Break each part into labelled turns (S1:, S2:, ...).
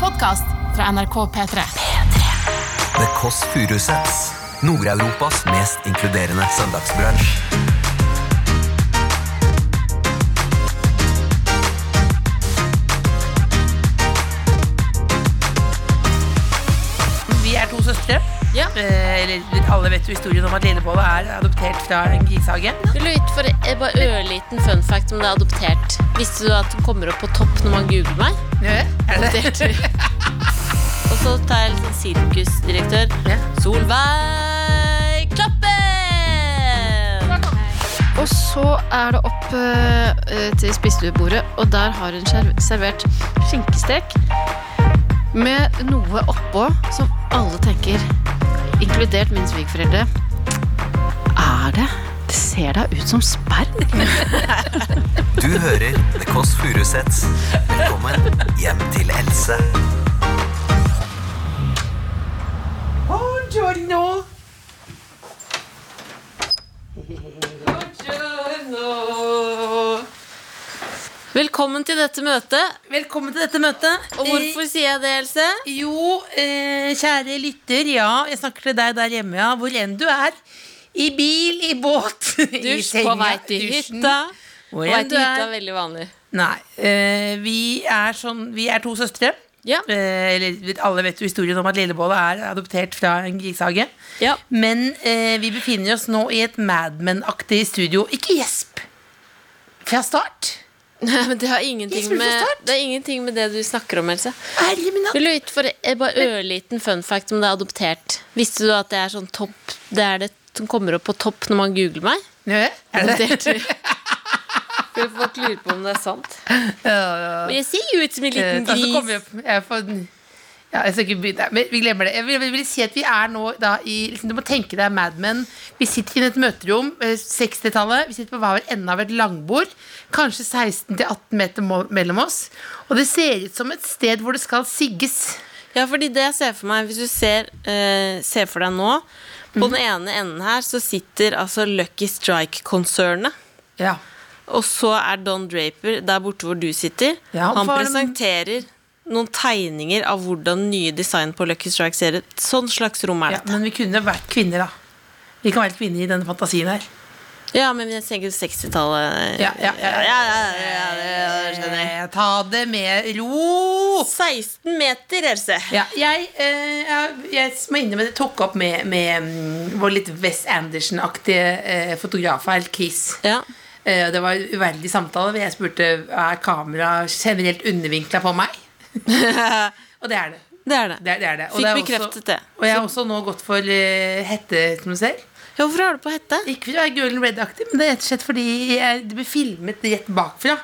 S1: podkast fra NRK P3.
S2: The Kåss Furuseths. Nord-Europas mest inkluderende søndagsbransj.
S3: Vi er to søstre.
S1: Ja.
S3: Eh, eller alle vet jo historien om at Lillebolla er adoptert fra en grishage.
S4: Du lurte for jeg bare ørliten fun fact om det er adoptert. Visste du at den kommer opp på topp når man googler meg?
S3: Er det det?
S4: Og så tar jeg litt sånn sirkusdirektør.
S3: Ja.
S4: Solveig Klappen!
S5: Og så er det opp eh, eh, til spisestuebordet, og der har hun skjer- servert skinkestek med noe oppå som alle tenker, inkludert mine svigerforeldre Er det Det ser da ut som sperr.
S2: Du hører The Kåss Furuseths. Velkommen hjem til Else.
S3: Buongiorno.
S4: Velkommen til dette møtet.
S3: Velkommen til dette møtet.
S4: Og hvorfor sier jeg det, Else?
S3: Eh, Jo, eh, kjære lytter, ja, jeg snakker til deg der hjemme, ja, hvor enn du er. I bil, i båt, i
S4: Dusj på vei til
S3: dusjen,
S4: hytta. På
S3: Hvor
S4: vei
S3: enn
S4: til
S3: du
S4: hytta
S3: er.
S4: er veldig vanlig.
S3: Nei, eh, vi er sånn, vi er to søstre.
S4: Ja.
S3: Eh, eller alle vet jo historien om at Lillebolla er adoptert fra en grishage.
S4: Ja.
S3: Men eh, vi befinner oss nå i et Mad Men-aktig studio. Ikke gjesp! Fra start.
S4: Nei, men det har ingenting
S3: Jesper,
S4: med,
S3: forstått.
S4: det, har ingenting med det du snakker om, Else.
S3: Herre min hatt.
S4: Vil du vite for jeg bare ørliten fun fact om det er adoptert? Visste du at det er sånn topp Det er det som kommer opp på topp når man googler meg?
S3: Nø, er det det?
S4: Adoptert. For folk lurer på om det er sant.
S3: Ja, ja.
S4: Men jeg ser jo ut som en
S3: Eh,
S4: liten
S3: da, så kommer
S4: gris.
S3: vi opp. Jeg får, ja, jeg skal ikke begynne. Men vi glemmer det. Jeg vil, jeg vil si at vi er nå da i liksom, Du må tenke deg Mad Men. Vi sitter i et møterom. eh, 60-tallet. Vi sitter på hver vår ende av et langbord. Kanskje 16-18 meter må- mellom oss. Og det ser ut som et sted hvor det skal sigges.
S4: Ja, fordi det jeg ser for meg Hvis du ser, eh, ser for deg nå
S3: Mhm.
S4: På den ene enden her så sitter altså Lucky Strike-konsernet.
S3: Ja.
S4: Og så er Don Draper der borte hvor du sitter.
S3: Ja,
S4: han
S3: for-
S4: presenterer noen tegninger av hvordan nye design på Lucky Strike ser ut. Sånn slags rom er
S3: ja.
S4: dette.
S3: Men vi kunne vært kvinner, da. Vi kan være kvinner i denne fantasien her.
S4: Ja, men jeg tenker 60-tallet
S3: Ja, ja, ja.
S4: ja, ja, ja, det skjønner jeg.
S3: Eh, Ta det med ro.
S4: 16 meter, Else.
S3: Ja, jeg, eh, jeg, jeg må innrømme det tok opp med, med mm, vår litt Wes Anderson-aktige eh, fotograf her, Chris.
S4: Ja.
S3: Eh, det var en uverdig samtale. hvor Jeg spurte er kamera generelt undervinkla på meg. og det er det.
S4: Det er det.
S3: det, er- det, er det. Og
S4: Fikk
S3: det er
S4: bekreftet
S3: også,
S4: det.
S3: Og jeg har også nå gått for eh, hette, som du ser.
S4: Ja, hvorfor har du på hette?
S3: Ikke for å være girl and red-aktig, men det er rett og slett fordi jeg, det ble filmet rett bakfra.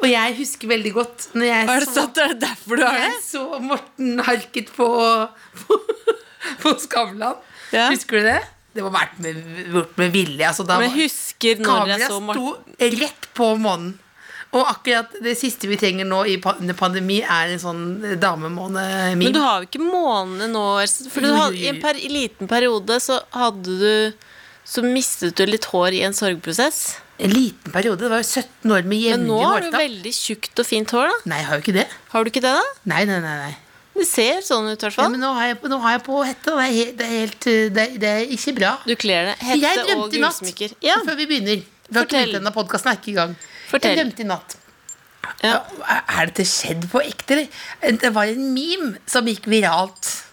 S3: Og jeg husker veldig godt når jeg
S4: Er det
S3: så-
S4: sant? Er det derfor du har det?
S3: jeg så Morten harket på, på, på Skavlan.
S4: Ja.
S3: Husker du det? Det var vært med, gjort med vilje. Altså, da
S4: Men
S3: var-
S4: jeg husker når jeg
S3: Kameraet
S4: så Martin
S3: sto rett på månen. Og akkurat det siste vi trenger nå i pa- under pandemi, er en sånn
S4: Men du
S3: damemåne-meme.
S4: har jo ikke månene nå. Else, For du
S3: Jo, jo,
S4: hadde,
S3: jo.
S4: I en per, i liten periode så hadde du så mistet du litt hår i en sorgprosess.
S3: En liten periode. Det var jo 17 år med
S4: Men
S3: jevnlig
S4: nå har du
S3: hårtap.
S4: veldig tjukt og fint hår. da
S3: Nei, jeg har jo ikke det.
S4: Har du ikke det, da?
S3: Nei, nei, nei, nei.
S4: Det ser sånn ut, i hvert
S3: Ja,
S4: fall.
S3: men nå har jeg, nå har jeg på hette, og det er, helt, det, er helt, eh, det, er- det er ikke bra.
S4: Du kler det.
S3: jeg
S4: Hette
S3: drømte
S4: og
S3: i natt,
S4: gullsmykker. Ja,
S3: før vi begynner. Vi har ikke
S4: Fortell.
S3: begynt ennå, podkasten er ikke i gang.
S4: Fortell.
S3: Jeg drømte i natt.
S4: Ja.
S3: Er er dette skjedd på ekte, eller? Det var en meme som gikk viralt.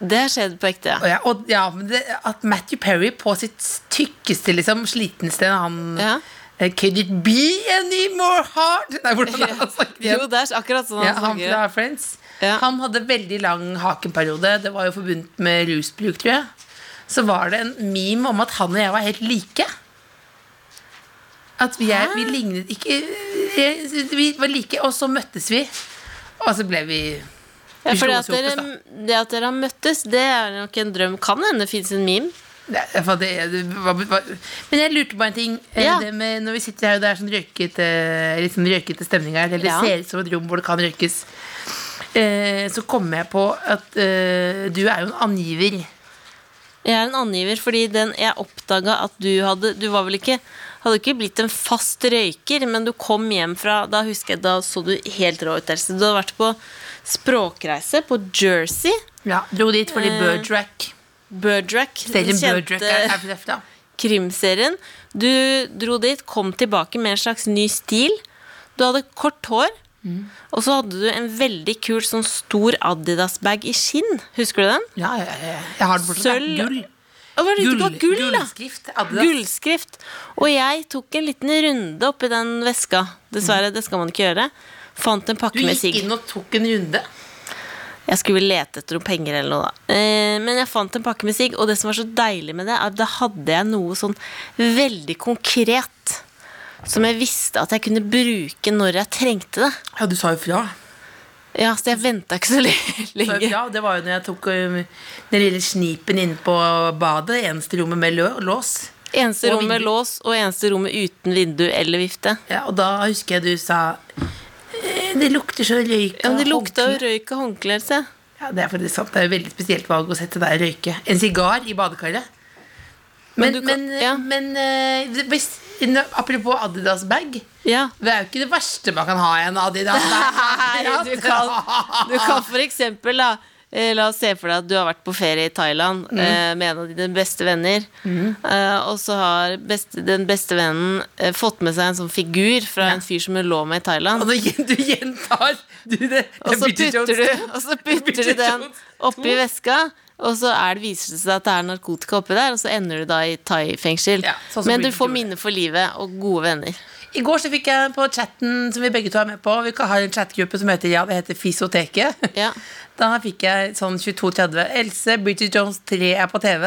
S4: det har skjedd på ekte.
S3: Og
S4: ja.
S3: ja, og, ja, men det, At Matthew Perry på sitt tykkeste, liksom, slitenste han
S4: Ja.
S3: eh, Could it be any more hard? Nei, hvordan er det han snakker
S4: Jo,
S3: igjen?
S4: det er akkurat sånn
S3: Ja,
S4: han
S3: han
S4: snakker.
S3: fra Friends.
S4: Ja.
S3: Han hadde veldig lang hakenperiode. Det var jo forbundet med rusbruk, tror jeg. Så var det en meme om at han og jeg var helt like. At vi, er, vi lignet ikke eh, Vi var like, og så møttes vi. Og så ble vi
S4: Ja, fordi
S3: Vi slo
S4: at
S3: oss i
S4: dere, det at dere har møttes, det er nok en drøm. Kan hende det fins en meme.
S3: Nei, for det, det var, var, men jeg lurte på en ting. Eh,
S4: Ja.
S3: Det med, når vi sitter her og det er sånn røykete, litt sånn røykete stemning her, eller det
S4: Ja.
S3: ser ut som et rom hvor det kan røykes, eh, så kommer jeg på at eh, du er jo en angiver.
S4: Jeg er en angiver fordi den jeg oppdaga at du hadde Du var vel ikke Hadde ikke blitt en fast røyker, men du kom hjem fra Da husker jeg, da så du helt rå ut. Else. Du hadde vært på språkreise på Jersey.
S3: Ja, Eh, Dro dit fordi Birdrack
S4: Birdrack.
S3: Serien
S4: den
S3: Birdrack er, er fra da.
S4: krimserien. Du dro dit, kom tilbake med en slags ny stil. Du hadde kort hår,
S3: Mm.
S4: og så hadde du en veldig kul sånn stor Adidas-bag i skinn. Husker du den?
S3: Ja, ja, ja, ja. Jeg har den fortsatt.
S4: Sølv.
S3: Gull.
S4: Å, var det
S3: Gull,
S4: ikke bare gull, da?
S3: gullskrift. Adidas.
S4: Gullskrift. Og jeg tok en liten runde oppi den veska. Dessverre, det skal man ikke gjøre. Fant
S3: Mm.
S4: en
S3: Du
S4: pakke med
S3: gikk
S4: sigg.
S3: inn og tok en runde.
S4: Jeg skulle vel lete etter noen penger eller noe, da. Eh, men jeg fant en pakke med sigg, og det som var så deilig med det, er at da hadde jeg noe sånn veldig konkret som jeg visste at jeg kunne bruke når jeg trengte det.
S3: Ja, du sa jo fra.
S4: Ja, så jeg venta ikke så le-
S3: Sa jo
S4: lenge.
S3: fra. Det var jo når jeg tok um, den lille snipen inne på badet. Eneste rommet med lø- lås.
S4: Eneste
S3: Og
S4: rom med
S3: vindu.
S4: lås, og eneste rom uten vindu eller vifte.
S3: Ja, og da husker jeg du sa «Eh, Det lukter så røyk.
S4: Ja, men
S3: av
S4: Det lukta
S3: håndkle».
S4: jo røyk og håndklær, se.
S3: Ja, det er faktisk sant. Det er jo veldig spesielt valg å sette deg og røyke. En sigar i badekaret. Men,
S4: Men du
S3: men,
S4: kan- ja.
S3: men, eh, det- hvis, apropos Adidas-bag.
S4: Ja.
S3: Det er jo ikke det verste man kan ha i en Adidas-bag.
S4: Nei, du kan, du
S3: Ah.
S4: kan for eksempel da eh, La oss se for deg at du har vært på ferie i Thailand
S3: Mm.
S4: eh, med en av dine beste venner. Eh, og så har beste, den beste vennen eh, fått med seg en sånn figur fra en fyr som hun lå med i
S3: Og
S4: Thailand.
S3: du, du gjentar du, det, det
S4: Og så
S3: er Bridget
S4: putter du,
S3: Jones.
S4: og så putter du
S3: Bridget
S4: den
S3: Jones
S4: oppi veska, og så er det, viser det seg at det er narkotika oppi der, og så ender du da i thai-fengsel.
S3: Ja, sånn som
S4: Men du
S3: Bridget
S4: får
S3: gjorde.
S4: minner for livet og gode venner.
S3: I går så fikk jeg på chatten som vi begge to er med på Vi har en chatgruppe som heter Ja, det heter Fisoteket.
S4: Ja.
S3: Da fikk jeg sånn 22.30 Else, Bridget Jones 3 er på TV.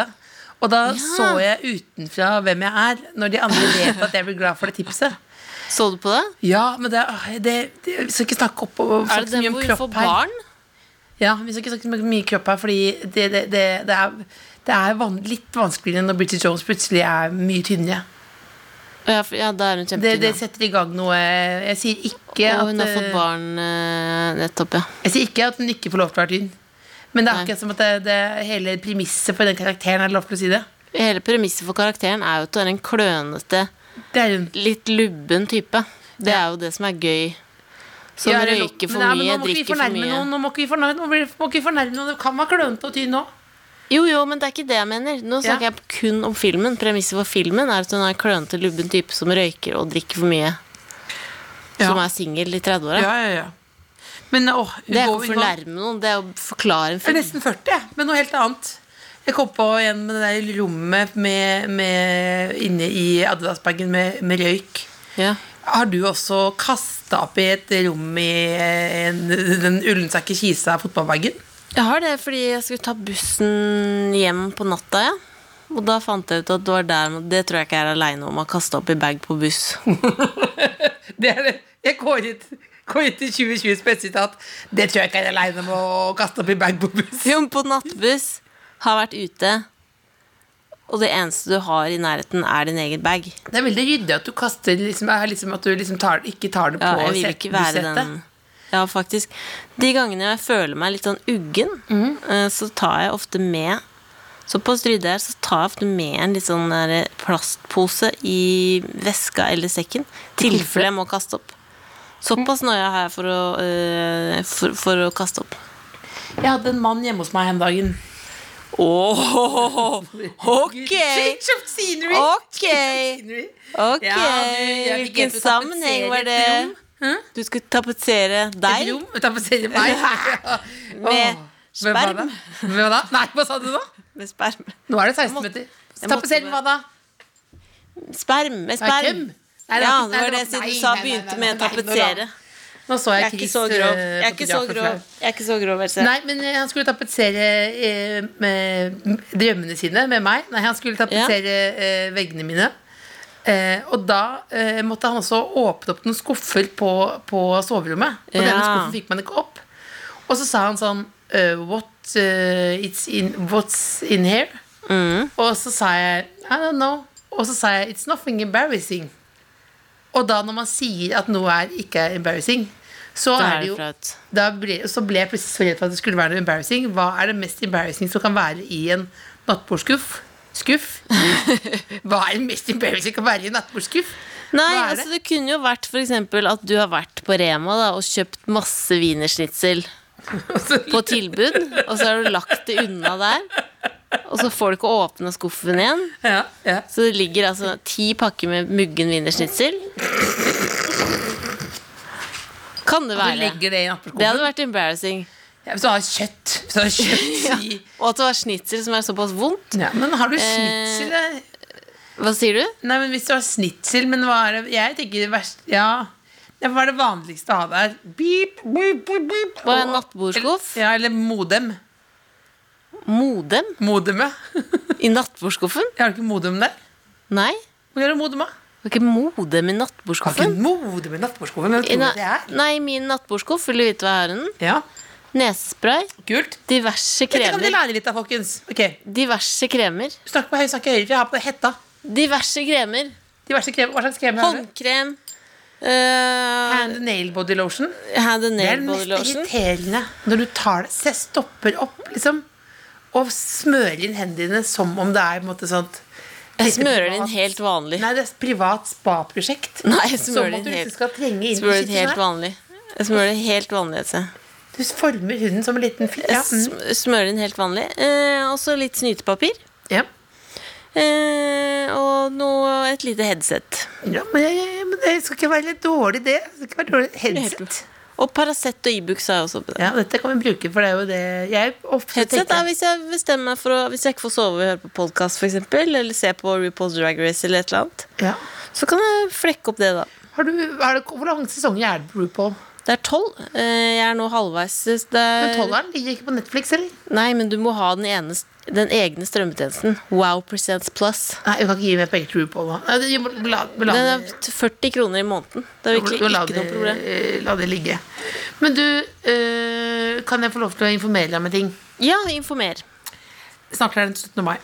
S3: Og da så jeg utenfra hvem jeg er, når de andre vet at jeg blir glad for det tipset.
S4: Så du på det?
S3: Ja, men det, åh, det, det Vi skal ikke snakke opp og
S4: Er
S3: snakke
S4: det
S3: så
S4: den
S3: mye om
S4: hvor hun får
S3: kropp her.
S4: barn?
S3: Ja, vi skal ikke snakke så mye om kropp her, fordi det, det, det, det er, det er van, litt vanskeligere når Bridget Jones plutselig er mye tynnere.
S4: Ja, for- ja, da er hun
S3: Det,
S4: kjempetynn.
S3: det
S4: ja.
S3: setter i gang noe Jeg sier ikke
S4: Og
S3: at
S4: hun har fått
S3: eh,
S4: barn eh, nettopp, ja.
S3: Jeg sier ikke at hun ikke får lov til å være tynn. Men det er
S4: Nei.
S3: akkurat som at det, det hele premisset for den karakteren er det lov til å si det.
S4: Hele premisset for karakteren er jo at du er en klønete,
S3: Det er hun.
S4: litt lubben type. Det er jo det som er gøy. Som
S3: Ja, eller-
S4: røyker for
S3: men nei, men nå
S4: mye,
S3: må ikke vi
S4: drikker for
S3: fornærme
S4: mye.
S3: Noen, nå må ikke vi fornærme noen. Nå må ikke vi fornærme noen. Det kan være klønete og tynn òg.
S4: Jo, jo, men det er ikke det jeg mener. Nå
S3: Ja.
S4: snakker jeg kun om filmen. Premisset for filmen er at hun er en klønete, lubben type som røyker og drikker for mye.
S3: Ja.
S4: Som er singel i 30-åra.
S3: ja, ja. Men åh, hun
S4: Det er
S3: går-
S4: ikke å
S3: hun går-
S4: fornærme noen, det er å forklare en
S3: Jeg er
S4: film.
S3: nesten 40, jeg, men noe helt annet. Jeg kom på igjen med det der rommet med, med, inne i Adidas-bagen med, med røyk.
S4: Ja.
S3: Har du også kasta opp i et rom i eh, en, den Ullensaker Kisa fotballbagen?
S4: Jeg har det fordi jeg skulle ta bussen hjem på natta, ja. Og da fant jeg ut at det var der Det tror jeg ikke jeg er aleine om å kaste opp i bag på buss.
S3: Det er det. Jeg kåret, kåret til 2020 spesitat. Det tror jeg ikke jeg er aleine om å kaste opp i bag på buss.
S4: Jo, men på nattbuss har vært ute, og det eneste du har i nærheten, er din egen bag.
S3: Det er veldig ryddig at du kaster liksom, er liksom at du liksom tar, ikke tar det på
S4: Ja, jeg vil ikke være
S3: setebussettet.
S4: den Ja, faktisk. De gangene jeg føler meg litt sånn uggen, eh, så tar jeg ofte med Så på Strydde her så tar jeg ofte med en litt sånn der eh, plastpose i veska eller sekken. Tilfelle jeg må kaste opp. Såpass nøye har jeg for å, eh, for, for å kaste opp.
S3: Jeg hadde en mann hjemme hos meg en dagen.
S4: Åh, ok!
S3: Change of scenery!
S4: Ok!
S3: Scenery.
S4: Ok!
S3: Ja, du, jeg fikk
S4: Hvilken
S3: hjelp til å
S4: sammenheng var det?
S3: tapetsere et
S4: Du skulle tapetsere
S3: Et
S4: deg?
S3: rom utenfor serien meg. Ja.
S4: Med
S3: Åh, hvem var
S4: sperm.
S3: det? Hvem var det? Nei, hva sa du nå?
S4: Med sperm.
S3: Nå er det 16
S4: måtte-
S3: meter.
S4: jeg måtte
S3: Tapetsere med hva da?
S4: Sperm med
S3: Nei,
S4: sperm.
S3: hvem? Nei,
S4: Ja,
S3: ikke-
S4: det
S3: nei,
S4: var det siden
S3: nei,
S4: du sa
S3: nei, nei,
S4: begynte
S3: nei,
S4: med
S3: nei, nå da.
S4: tapetsere.
S3: Nå så jeg
S4: Jeg er ikke
S3: Chris,
S4: så grov.
S3: eh,
S4: Jeg er ikke så
S3: fotografen
S4: grov. Jeg er ikke så grov, Else.
S3: Nei, men eh, han skulle tapetsere eh, med drømmene sine med meg. Nei, han skulle tapetsere eh, veggene mine. Eh, og da eh, måtte han også åpne opp noen skuffer på, på soverommet. Og
S4: Ja.
S3: denne skuffen fikk man ikke opp. Og så sa han sånn eh, What eh, it's in, What's in here?
S4: Mm.
S3: Og så sa jeg I don't know. Og så sa jeg It's nothing embarrassing. Og da når man sier at noe er ikke er embarrassing, så
S4: Da
S3: er,
S4: er det
S3: det jo
S4: flaut.
S3: da ble, Så ble jeg plutselig så redd for at det skulle være noe embarrassing. Hva er det mest embarrassing som kan være i en nattbordskuff? Skuff? Hva er den mest embarrassing å være i en nattbordskuff?
S4: Nei,
S3: Hva er det?
S4: altså det kunne jo vært for eksempel at du har vært på Rema da, og kjøpt masse wienersnitzel på tilbud, og så har du lagt det unna der, og så får du ikke åpna skuffen igjen.
S3: Ja, ja.
S4: Så det ligger altså ti pakker med muggen wienersnitzel. Kan det
S3: Du
S4: være.
S3: legger det i
S4: Det
S3: nattbordskuffen.
S4: hadde vært embarrassing.
S3: Ja, hvis du har kjøtt, hvis du har kjøtt i
S4: Og at det var snitsel som er såpass vondt.
S3: ja, Men har du snitsel? da?
S4: Hva sier du?
S3: Nei, men hvis du har snitsel, men hva er det Jeg tenker det verste Ja. Ja, Hva er det vanligste å ha der? Beep, beep, beep, beep.
S4: Var det en
S3: Og-
S4: nattbordskuff?
S3: Ja, eller modem.
S4: Modem?
S3: Modemet.
S4: I nattbordskuffen?
S3: Har du ikke modem der?
S4: Nei.
S3: Hvor er det modem, da?
S4: Det var ikke modem i
S3: Har ikke
S4: nattbordskuffen.
S3: modem i nattbordskuffen? men
S4: I
S3: Hvem
S4: na
S3: tror du det er?
S4: nei, min nattbordskuff. Vil du vite hva jeg har i den?
S3: Ja,
S4: Nesespray.
S3: kult.
S4: Diverse
S3: Dette kan dere
S4: kremer.
S3: lære litt av, folkens. Ok,
S4: Diverse kremer.
S3: Snakk på høy, snakk i høyre, for jeg har på hetta.
S4: Diverse kremer.
S3: Diverse krem, hva slags krem har du?
S4: Håndkrem. eh,
S3: Hand and nail body lotion.
S4: hand and
S3: Det er
S4: nail
S3: det
S4: body
S3: mest
S4: lotion.
S3: irriterende når du tar det. Se, stopper opp, liksom. Og smører inn hendene dine som om det er på en måte sånn sånt
S4: Jeg smører den helt vanlig.
S3: Nei, det er et privat spaprosjekt.
S4: Nei, jeg
S3: Som
S4: smører
S3: at du
S4: den
S3: liksom
S4: helt,
S3: skal trenge inn
S4: smører
S3: i
S4: den helt
S3: kitchen her.
S4: vanlig. Jeg smører den helt vanlig. altså.
S3: Du former hunden som en liten fi-
S4: Jeg
S3: ja, mm,
S4: sm- smører den helt vanlig. Eh, og så litt snytepapir.
S3: ja.
S4: Eh, og noe, et lite headset.
S3: ja, men, jeg, jeg, men det skal ikke være litt dårlig, det. det skal ikke være dårlig. Headset.
S4: Og Paracet og Ibux har jeg også på det.
S3: Ja, dette kan vi bruke, for det er jo det jeg ofte
S4: Headset er
S3: tenker.
S4: hvis jeg bestemmer meg for å Hvis jeg ikke får sove og høre på podkast, f.eks., eller se på RuPaul's Drag Race eller et eller annet,
S3: Ja.
S4: så kan jeg flekke opp det, da.
S3: Har du, har du, hvor lang sesong er det på RuPaul?
S4: Det er tolv. Eh, Jeg er nå halvveis. Det er,
S3: Men tolveren ligger ikke på Netflix, eller?
S4: Nei, men du må ha den, ene, den egne strømmetjenesten. Wow Presents Plus.
S3: Nei, du kan ikke gi meg penger til RuPaul. da. Nei, det- jeg må la- må la
S4: Den
S3: det-
S4: er t- 40 kroner i måneden. Det er virkelig
S3: må la
S4: ikke noe problem.
S3: det- La det ligge. Men du, eh, kan jeg få lov til å informere deg om en ting?
S4: Ja, informer.
S3: Snakker deg den 17. mai.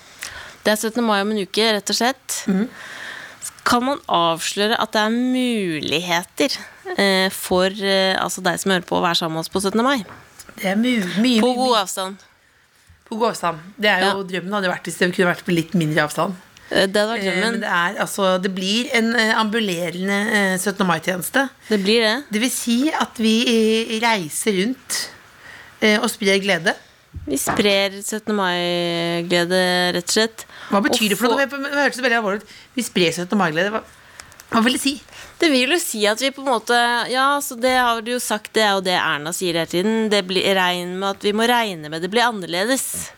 S4: Det er 17. mai om en uke, rett og slett. Kan man avsløre at det er muligheter eh, for eh, altså deg som hører på, å være sammen med oss på 17. mai?
S3: Det er mye, mye,
S4: På
S3: mye-
S4: god avstand.
S3: på god avstand. Det er jo drømmen hadde vært hvis det kunne vært på litt mindre avstand.
S4: Eh, Det hadde vært
S3: Eh, Men
S4: drømmen.
S3: det er altså Det blir en eh, ambulerende eh, 17. mai-tjeneste.
S4: Det blir det.
S3: Det vil si at vi eh, reiser rundt eh, og sprer glede.
S4: Vi sprer 17. mai-glede, rett og slett.
S3: Hva betyr
S4: Og
S3: det for noe?
S4: få-
S3: Det hørtes veldig alvorlig ut. Vi sprer 17. mai-glede. Hva, hva vil det si?
S4: Det vil jo si at vi på en måte Ja, så det har du jo sagt, det er jo det Erna sier hele tiden. Det blir regn med at vi må regne med det blir annerledes.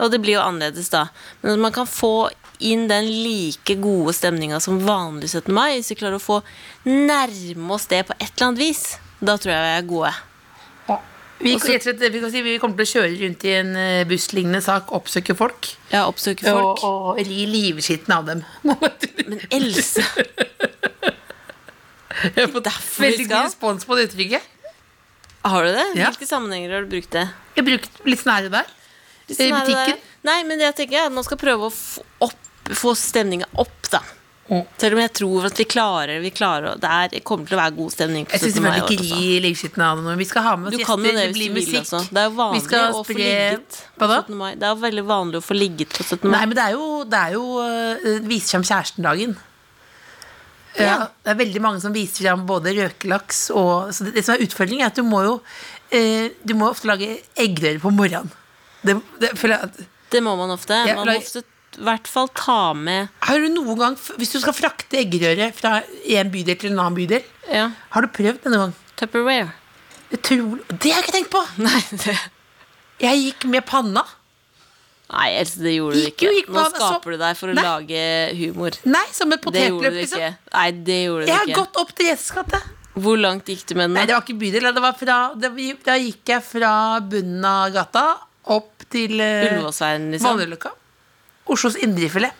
S4: Og det blir jo annerledes, da. Men at man kan få inn den like gode stemninga som vanlig 17. mai, hvis vi klarer å få nærme oss det på et eller annet vis. Da tror jeg vi er gode.
S3: Vi, rett og slett, vi, kan si, vi kommer til å kjøre rundt i en eh, busslignende sak, oppsøke folk,
S4: Ja, oppsøke folk.
S3: og, og ri livskitten av dem.
S4: Men Else
S3: Jeg har fått
S4: derfor vi
S3: veldig god
S4: skal.
S3: respons på det uttrykket.
S4: Har du det?
S3: Ja.
S4: Hvilke sammenhenger har du brukt det?
S3: Jeg brukte litt snære der.
S4: Hvis
S3: I
S4: den er det
S3: butikken?
S4: der- Nei, men det jeg tenker er at man skal prøve å få, opp- få stemninga opp, da.
S3: Mm.
S4: Selv om jeg tror at vi klarer vi klarer, å- det er, kommer til å være god stemning. på
S3: Jeg syns
S4: 17. mai i
S3: selvfølgelig
S4: år,
S3: ikke
S4: altså.
S3: ri livskitten av noen. Vi skal ha med oss
S4: Du kan jo det
S3: det
S4: hvis
S3: blir
S4: du vil.
S3: musikk.
S4: Altså. Det er jo
S3: Vi
S4: vanlig
S3: skal
S4: å få
S3: spre-
S4: ligget Altså, på
S3: Hva da?
S4: 17. mai. Det er jo veldig vanlig å få ligget på 17.
S3: Nei,
S4: mai.
S3: men det er jo, det er jo eh, Vise fram kjæresten-dagen. Ja. det er veldig mange som viser fram både røkelaks og så det, det som er utfordringen, er at du må jo eh, Du må ofte lage eggerøre på morgenen. Det, det, føler jeg at
S4: Det må man ofte.
S3: Ja,
S4: Man
S3: la-
S4: må ofte i hvert fall ta med
S3: Har du noen gang, Hvis du skal frakte eggerøre fra en bydel til en annen bydel,
S4: ja,
S3: har du prøvd det noen gang?
S4: Tupperware.
S3: Utrolig. Det har jeg ikke tenkt på!
S4: Nei, det
S3: Jeg gikk med panna.
S4: Nei, Else, det gjorde du
S3: Gikk jo,
S4: ikke.
S3: gikk på
S4: Nå
S3: han, altså.
S4: skaper du deg for å
S3: Nei.
S4: lage humor.
S3: Nei, som et
S4: Det gjorde
S3: potetløp,
S4: du
S3: liksom.
S4: ikke. Nei, det gjorde du
S3: Jeg har
S4: ikke.
S3: gått opp til Jesus gate.
S4: Hvor langt gikk du med den?
S3: Nei,
S4: da?
S3: det var ikke bydel. Det var fra, det, da gikk jeg fra bunnen av gata opp til eh,
S4: Ullevålsveien, liksom?
S3: Vannuløkka. Oslos indrefilet.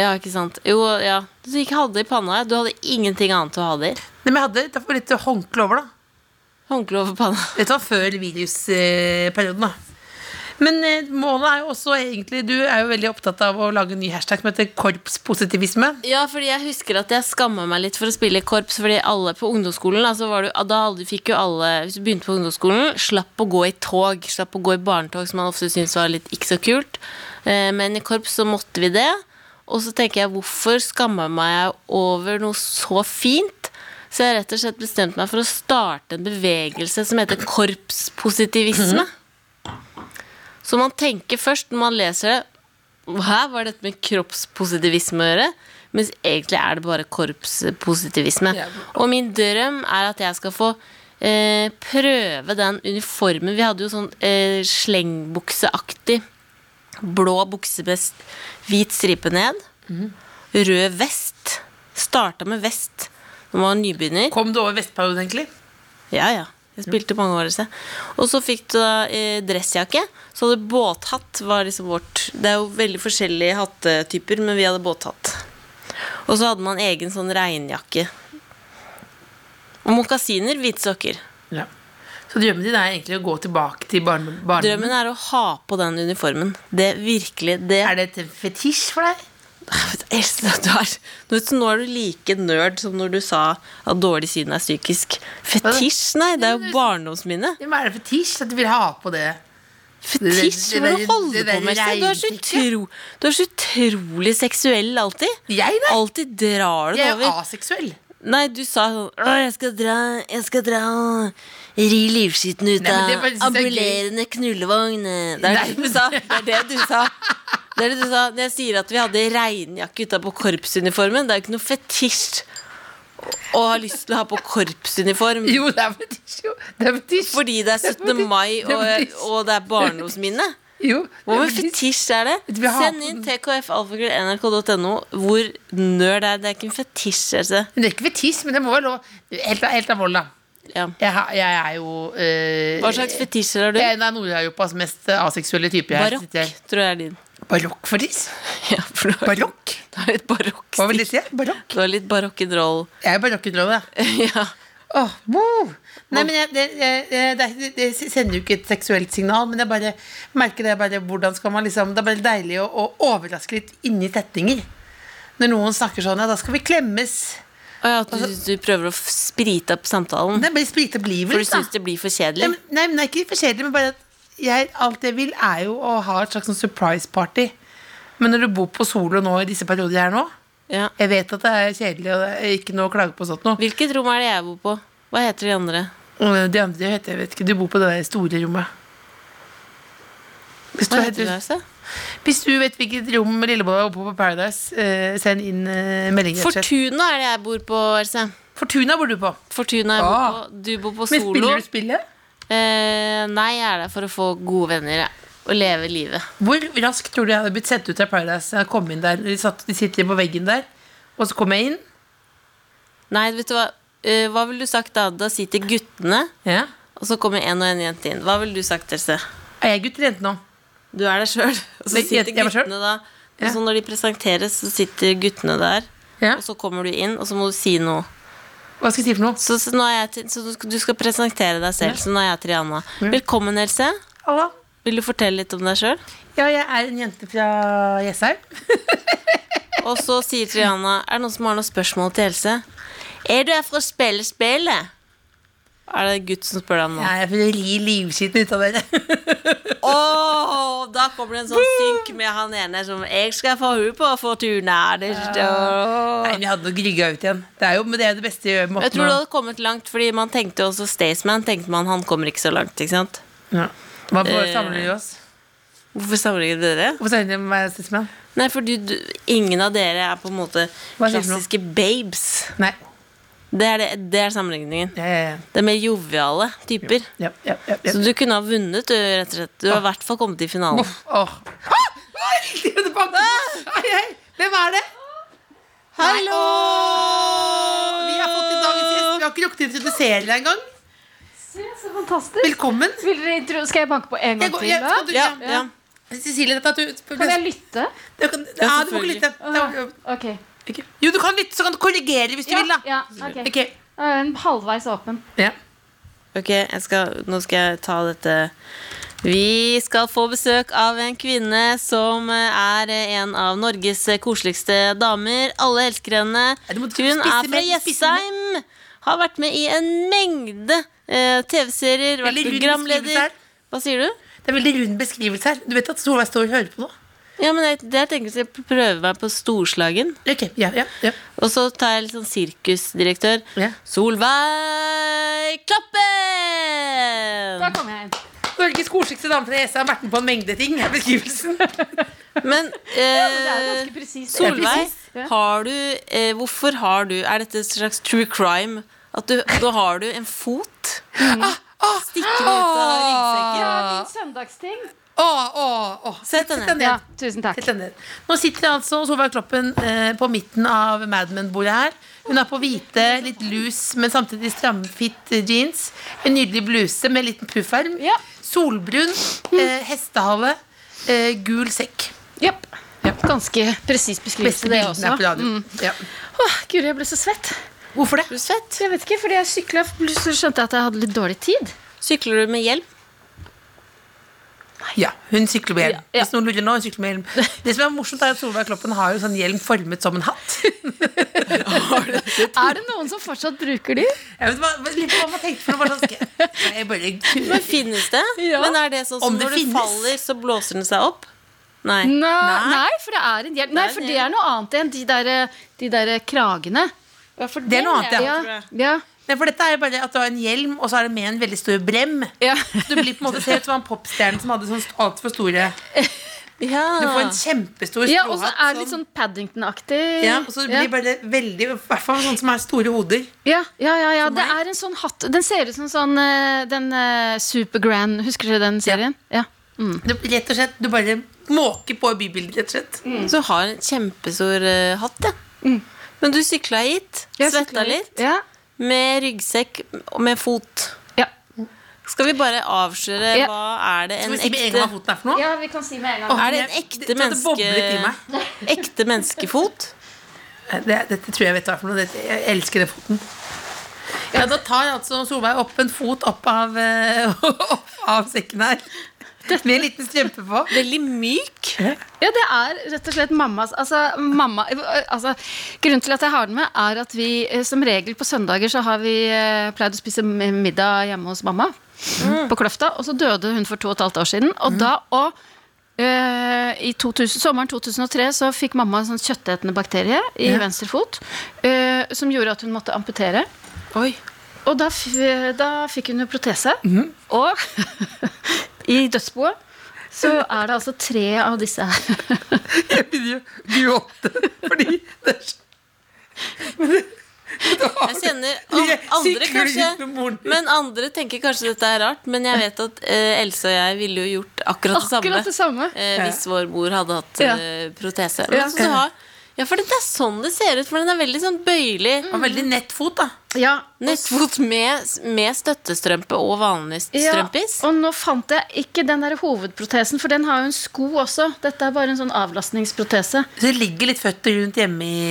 S4: Ja, ikke sant. Jo, ja. Du ikke hadde det i panna. ja. Du hadde ingenting annet å ha det i.
S3: Nei, men jeg hadde derfor litt håndkle over, da.
S4: Håndkle over panna.
S3: Dette var før virusperioden, da. Men eh, målet er jo også egentlig Du er jo veldig opptatt av å lage en ny hashtag som heter korpspositivisme.
S4: Ja, fordi jeg husker at jeg skamma meg litt for å spille i korps. Fordi alle på ungdomsskolen altså var du, Da hadde- fikk jo alle Hvis du begynte på ungdomsskolen, slapp å gå i tog. Slapp å gå i barnetog, som man ofte syntes var litt ikke så kult. Eh, Men i korps så måtte vi det. Og så tenker jeg, hvorfor skammer jeg meg over noe så fint? Så jeg har rett og slett bestemt meg for å starte en bevegelse som heter korpspositivisme. Så man tenker først når man leser det Hæ, hva er dette med kroppspositivisme å gjøre? Mens egentlig er det bare korpspositivisme.
S3: Ja.
S4: Og min drøm er at jeg skal få eh, prøve den uniformen. Vi hadde jo sånn eh, slengbukseaktig. Blå bukse med s- hvit stripe ned. Rød vest. Starta med vest når man var nybegynner.
S3: Kom du over Vestperioden, egentlig?
S4: Ja, ja. Jeg spilte mange år. Så. Og så fikk du da eh, dressjakke. Så hadde du båthatt. Var liksom vårt. Det er jo veldig forskjellige hattetyper, men vi hadde båthatt. Og så hadde man egen sånn regnjakke. Og mokasiner, hvite sokker.
S3: Ja. Så drømmen din er egentlig å gå tilbake til barne- barndommen?
S4: Drømmen er å ha på den uniformen. Det virkelig, det
S3: Er det et fetisj for deg?
S4: Else, du er, nå, vet du, nå er du like nerd som når du sa at dårlig syn er psykisk. Fetisj? Nei, det er jo barndomsminne.
S3: Hva er det fetisj? At du vil ha på det?
S4: Fetisj?
S3: Det
S4: Hva
S3: der-
S4: er det du
S3: det
S4: holder
S3: der
S4: på med? Sten? Du er, så
S3: regntrykket.
S4: utro, du er så utrolig seksuell alltid.
S3: Jeg, nei?
S4: Alltid drar du
S3: Jeg er
S4: den
S3: jo
S4: over.
S3: aseksuell.
S4: Nei, du sa sånn Å, jeg skal dra, jeg skal dra og ri livskiten ut
S3: Nei, men
S4: av
S3: det bare synes jeg er gøy.
S4: ambulerende knullevogn. Det er
S3: Nei,
S4: det du
S3: men-
S4: sa. Det er det du sa. Det er det du sa. Når jeg sier at vi hadde regnjakke utapå korpsuniformen, det er jo ikke noe fetisj å ha lyst til å ha på korpsuniform.
S3: Jo, det er fetisj. Jo. Det er fetisj.
S4: Fordi det er 17. mai,
S3: Det er
S4: og,
S3: fetisj.
S4: og det er barndomsminne.
S3: jo, det
S4: Hvor mye
S3: er fetisj.
S4: fetisj er det?
S3: Vi har-
S4: Send inn tkfalfakrøll.nrk.no hvor nerd er det. Det er ikke en fetisj, altså.
S3: Men Det er ikke fetisj, men det må være lov. Helt, helt av vold, da.
S4: Ja.
S3: Jeg, har- jeg er jo eh,
S4: Hva slags fetisjer har du?
S3: Jeg er en av Nord-Europas mest eh, aseksuelle typer. jeg
S4: Barokk,
S3: sitter her.
S4: tror jeg er din.
S3: Barokkfetisj?
S4: Ja, for du har,
S3: Barokk?
S4: du har litt barokk
S3: Hva vil det si? Barokk?
S4: Du har litt barokkenroll.
S3: Jeg er barokkutrolle, da.
S4: ja.
S3: Åh, wow. Nei, men jeg, det, jeg- jeg- det, er ikke- det sender jo ikke et seksuelt signal, men jeg bare merker det bare, hvordan skal man liksom, Det er bare deilig å, å overraske litt inni setninger. Når noen snakker sånn, ja, da skal vi klemmes.
S4: Og ja, at du, du prøver å f- sprite opp samtalen.
S3: Altså- Det blir sprite
S4: For du
S3: blivelse.
S4: syns det blir for
S3: Nei,
S4: kjedelig.
S3: men- nei, men det er ikke for kjedelig, men bare at jeg, alt jeg vil, er jo å ha et slags sånn surprise party. Men når du bor på solo nå i disse perioder her nå
S4: Ja.
S3: Jeg vet at det er kjedelig, og det er ikke noe å klage på og sånt noe.
S4: Hvilket rom er det jeg bor på? Hva heter de andre?
S3: Og De andre heter jeg vet ikke. Du bor på det der store rommet. Hvis du,
S4: Hva heter
S3: heter,
S4: det, altså?
S3: hvis du vet hvilket rom Lillebolla er oppe på på Paradise, eh, send inn eh, melding. rett og slett.
S4: Fortuna er det jeg bor på, Else.
S3: Fortuna bor du på.
S4: Fortuna jeg bor
S3: Ah.
S4: på. Du bor på
S3: Men
S4: Solo.
S3: spiller du spillet?
S4: Eh, nei, jeg er der for å få gode venner jeg. og leve livet.
S3: Hvor raskt tror du jeg hadde blitt sendt ut av Paradise? Jeg kom inn der, de, satt, de sitter på veggen der, og så kom jeg inn.
S4: Nei, vet du hva? Eh, hva ville du sagt da? Da sitter guttene,
S3: Ja.
S4: og så kommer en og en jente inn. Hva ville du sagt, Else?
S3: Er jeg gutt eller jente nå?
S4: Du er der sjøl. Og så
S3: Nei,
S4: sitter
S3: jeg- jeg var selv.
S4: guttene da. Og
S3: Ja.
S4: så når de presenteres, så sitter guttene der.
S3: Ja.
S4: Og så kommer du inn, og så må du si noe.
S3: Hva skal jeg si for noe?
S4: Så, så, nå er jeg til, så du skal- du skal presentere deg selv. Så nå er jeg Triana. Velkommen, Else.
S3: Halla.
S4: Vil du fortelle litt om deg sjøl?
S3: Ja, jeg er en jente fra Jessheim.
S4: Og så sier Triana Er det noen som har noen spørsmål til Else? Er du her for å spille spillet? Er det en gutt som spør deg om noe?
S3: Jeg er for å ri livskiten ut av dere.
S4: Åh, da kommer det en sånn synk med han ene som Jeg skal få hun på Fortuna. Det, Åh.
S3: Nei, vi hadde nok rygga ut igjen. Det er jo, men det er jo det beste gjør- måten
S4: Jeg tror
S3: å-
S4: du hadde kommet langt, fordi man tenkte jo også Staysman. Tenkte man, han kommer ikke så langt, ikke sant?
S3: Ja. Man får
S4: Eh.
S3: samle oss.
S4: Hvorfor sammenligner du dere?
S3: Hvorfor samler du meg stedsmenn?
S4: Nei, for du, du, ingen av dere er på en måte
S3: Hva sier du nå?
S4: klassiske babes.
S3: Nei.
S4: Det er, det, det er sammenligningen.
S3: Ja, ja,
S4: Det er mer joviale typer.
S3: ja. ja, ja, ja, ja.
S4: Så du kunne ha vunnet, du, rett og slett. Du har i hvert fall kommet i finalen.
S3: Uff, åh. Ah! Nei, det banker! Hei, hei! Hvem er det?
S4: Hallo!
S3: Vi har fått i dagens gjest. Vi har ikke rukket å introdusere deg engang.
S5: Så fantastisk.
S3: Velkommen.
S5: Vil dere intro skal jeg banke på en
S3: Jeg
S5: gang
S3: går,
S5: til?
S3: jeg,
S5: da?
S3: kan du,
S4: Ja,
S3: ja.
S4: ja.
S3: Cecilie, dette at du
S5: Kan jeg lytte?
S3: Du kan- Ja, du får ikke
S4: selvfølgelig.
S3: lytte. Det var-
S5: Ok.
S3: Jo, du kan lytte, så kan du korrigere hvis du
S5: Ja,
S3: vil, da.
S5: ja, ok.
S3: Ok.
S5: Eh, Halvveis åpen.
S3: Ja.
S4: Ok, jeg skal, nå skal jeg ta dette Vi skal få besøk av en kvinne som er en av Norges koseligste damer. Alle elsker henne.
S3: Nei, du må
S4: Hun
S3: spisse
S4: er fra
S3: mer, spisse mer.
S4: Jessheim. Har vært med i en mengde eh, TV-serier, vært
S3: Veldig lun beskrivelse her.
S4: programleder. Hva sier du?
S3: Det er veldig rund beskrivelse her. Du vet at Solveig står og hører på nå?
S4: Ja, men jeg, det jeg tenker jeg skal prøve meg på storslagen.
S3: Ok, ja, ja, ja.
S4: Og så tar jeg litt sånn sirkusdirektør.
S3: Ja.
S4: Solveig Klappen!
S6: Da kom jeg inn.
S3: Norges koseligste dame fra ESA har vært med på en mengde ting. er beskrivelsen.
S4: Men
S6: Det er
S4: eh,
S6: ganske presist.
S4: Solveig,
S6: Ja.
S4: har du, eh, hvorfor har du Er dette et slags true crime? At du, da har du en fot Ah, stikker ut av ryggsekken.
S6: Ja, min søndagsting.
S3: Åh, åh, åh.
S4: Sett deg ned.
S6: Ja, tusen takk.
S3: Sett deg ned. Nå sitter altså Solveig Kloppen eh, på midten av Mad Men-bordet her. Hun har på hvite, litt lus, men samtidig stramfit eh, jeans. En nydelig bluse med liten pufferm.
S6: Ja.
S3: Solbrun, eh,
S5: Mm.
S3: hestehale, eh, gul sekk.
S5: Japp. Ganske presis beskrivelse,
S3: Beste
S5: det
S3: bildene er på
S5: også. Mm.
S3: radio. Ja.
S5: Åh, Guri, jeg ble så svett.
S3: Hvorfor det?
S5: Jeg vet ikke, fordi jeg sykla, plutselig skjønte jeg at jeg hadde litt dårlig tid.
S4: Sykler du med hjelm?
S3: Ja, hun sykler med hjelm.
S5: Ja, ja.
S3: Hvis noen lurer nå, hun sykler med hjelm. Det som er morsomt, er at Solveig Kloppen har jo sånn hjelm formet som en hatt.
S5: Er det noen som fortsatt bruker de?
S3: Jeg vet hva, litt på hva man tenkte for noe, bare sånn skal jeg- skal jeg bare
S4: Men finnes det? Men er det sånn som
S3: Om det
S4: når
S3: finnes?
S4: du faller, så blåser den seg opp? Nei.
S5: Nei, nei, for det er en hjelm. Nei,
S4: Det er en
S5: for det er noe annet enn de der, de der kragene.
S3: Det er noe annet, ja.
S5: Ja,
S4: tror jeg.
S5: ja,
S3: Nei, for dette er jo bare at du har en hjelm, og så er det med en veldig stor brem.
S5: ja.
S3: Du blir på en måte ser ut som en popstjerne som hadde sånn altfor store
S4: Ja.
S3: Du får en kjempestor
S5: ja og så
S3: stråhatt,
S5: er det litt sånn Paddington-aktig.
S3: ja, og så blir
S5: ja.
S3: bare det veldig I hvert fall sånne som har store hoder.
S5: Ja, ja, ja, ja.
S3: For
S5: Det
S3: meg.
S5: er en sånn hatt. Den ser ut som sånn eh, den eh, Super Grand. Husker dere den serien? Ja.
S3: Du, rett og slett, du bare måker på bybildet, rett og slett.
S4: Så har en kjempestor eh, hatt, ja. Men du sykla hit,
S5: Jeg
S4: svetta
S5: syklet
S4: litt,
S5: Ja.
S4: med ryggsekk og med fot.
S5: Ja.
S4: Skal vi bare avsløre
S5: Ja.
S4: hva er det en
S3: Skal vi si med en gang
S4: ekte
S3: hva foten er for noe?
S6: Ja, vi kan si med en gang.
S3: Åh,
S4: Er det
S3: jeg-
S4: en ekte
S3: dette
S4: menneske-
S3: boblet i meg.
S4: Ekte menneskefot?
S3: Det, dette tror jeg vet hva er for noe. Dette, jeg elsker den foten. Ja, Da tar altså Solveig opp en fot opp av, eh, opp av sekken her. Med en liten strømpe på.
S4: Veldig myk.
S5: Ja, det er rett og slett mammas altså, mamma, altså, Grunnen til at jeg har den med, er at vi eh, som regel på søndager så har vi eh, pleid å spise m- middag hjemme hos mamma. På Kløfta. Og så døde hun for to og et halvt år siden. Og da og eh, i 2000, sommeren 2003 så fikk mamma en sånn kjøttetende bakterie i venstre fot eh, som gjorde at hun måtte amputere.
S4: Oi.
S5: Og da, f- da fikk hun jo protese. Og i dødsboet så er det altså tre av disse her.
S3: Jeg begynner å gråte fordi det er så
S4: Jeg kjenner an- andre
S3: Sykler
S4: kanskje
S3: ut med moren.
S4: Men andre tenker kanskje dette er rart, men jeg vet at eh, Else og jeg ville jo gjort akkurat det samme
S5: Akkurat det samme.
S4: eh, hvis vår mor hadde hatt
S5: Ja.
S4: eh, protese.
S5: Ja.
S4: Men så har- ja, for det er sånn det ser ut, for den er veldig sånn bøyelig.
S5: Mm.
S3: Og veldig nett fot, da.
S5: Ja.
S4: Nettfot med, med støttestrømpe og vanlig strømpis.
S5: og nå fant jeg ikke den der hovedprotesen, for den har jo en sko også. Dette er bare en sånn avlastningsprotese.
S3: Så det ligger litt føtter rundt hjemme i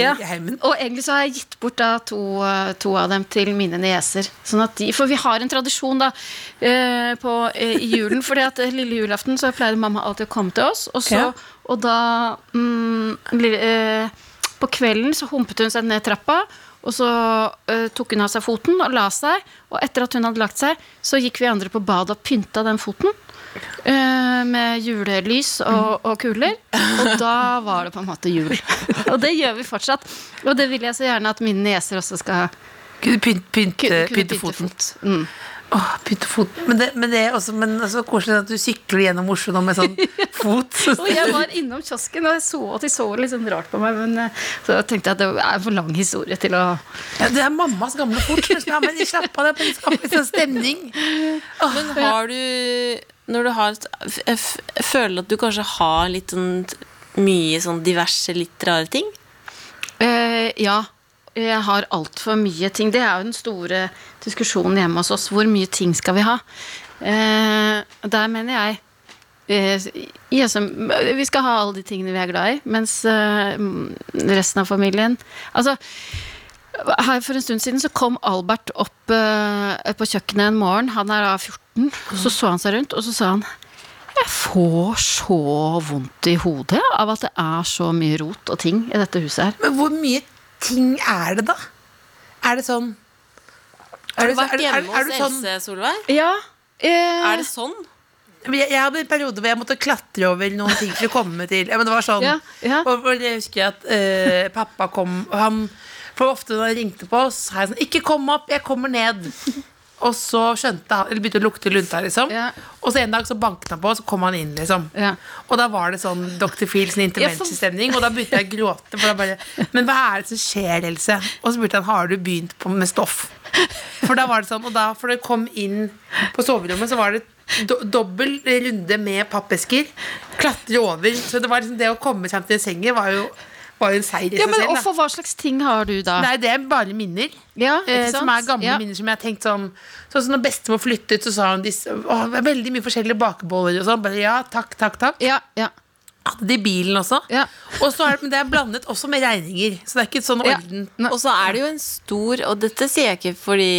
S5: Ja.
S3: i heimen.
S5: Og egentlig så har jeg gitt bort da to, eh, to av dem til mine nieser. Sånn at de, for vi har en tradisjon da eh, på, eh, i julen. fordi at eh, lille julaften så pleide mamma alltid å komme til oss. Og, så,
S3: Ja.
S5: og da mm, lille, eh, På kvelden så humpet hun seg ned trappa. Og så eh, tok hun av seg foten og la seg. Og etter at hun hadde lagt seg, så gikk vi andre på badet og pynta den foten. eh, med julelys og, og kuler. Og da var det på en måte jul. Og det gjør vi fortsatt. Og det vil jeg så gjerne at mine nieser også skal
S3: Kunne pynt- pynte,
S5: kunne
S3: Eh, pynte
S5: pynte
S3: foten.
S5: fot. Mm.
S3: Åh, pynte foten. Men det, men det er også men det er så koselig at du sykler gjennom Oslo nå med sånn fot.
S5: Og jeg var innom kiosken, og jeg så at de så litt sånn rart på meg. Men eh, så tenkte jeg at det er en for lang historie til å
S3: Ja, det er mammas gamle fot. men skal- Men slapp av, det er på en skapelig sånn stemning. Ah,
S4: Men har du Når du har et- f- f- Føler at du kanskje har litt sånn t- mye sånn diverse, litt rare ting?
S5: Eh, Ja. Jeg har altfor mye ting. Det er jo den store diskusjonen hjemme hos oss. Hvor mye ting skal vi ha? Eh, og der mener jeg eh, jeg som- Vi skal ha alle de tingene vi er glad i, mens eh, resten av familien Altså, her for en stund siden så kom Albert opp eh, på kjøkkenet en morgen. Han er da 14 barten. Så så han seg rundt, og så sa han jeg får så vondt i hodet av at det er så mye rot og ting i dette huset her.
S3: Men hvor mye ting er det, da? Er det sånn er
S4: Har du vært
S3: er er
S4: hjemme
S3: er du
S4: hos
S3: sånn,
S4: Else, Solveig?
S5: Ja, eh,
S4: Er det sånn?
S3: jeg, jeg hadde en periode hvor jeg måtte klatre over noen ting for å komme til ja, men det var sånn,
S5: Ja, ja.
S3: Og, og jeg husker jeg at eh, pappa kom og han, For ofte når han ringte på oss, sa jeg sånn Ikke kom opp, jeg kommer ned. Og så skjønte han, eller begynte å lukte lunta, liksom.
S5: Ja.
S3: Og så en dag så banket han på, og så kom han inn, liksom.
S5: Ja.
S3: Og da var det sånn Dr. Phils intervention-stemning, og da begynte jeg å gråte. For da bare, Men hva er det som skjer, Else? Og så spurte han har du begynt på med stoff. For da var det sånn, og da, for det kom inn på soverommet, så var det do dobbel runde med pappesker. Klatre over. Så det var liksom det å komme seg til sengen var jo, var jo en seier i
S5: ja,
S3: seg
S5: men
S3: selv.
S5: og
S3: Da.
S5: for hva slags ting har du da?
S3: Nei, det er bare minner.
S5: Ja, ikke
S3: Eh, som
S5: sant?
S3: er gamle
S5: Ja.
S3: minner som jeg har tenkt sånn Sånn som når bestemor flyttet, så sa hun disse, å, det er veldig mye forskjellige bakeboller og sånn. Bare ja, takk, takk, takk.
S5: Ja, ja.
S3: Hadde det i bilen også.
S5: Ja.
S3: Og så er det, men det er blandet også med regninger. Så det er ikke sånn
S5: Ja.
S3: orden.
S5: Nei.
S4: Og så er det jo en stor Og dette sier jeg ikke fordi,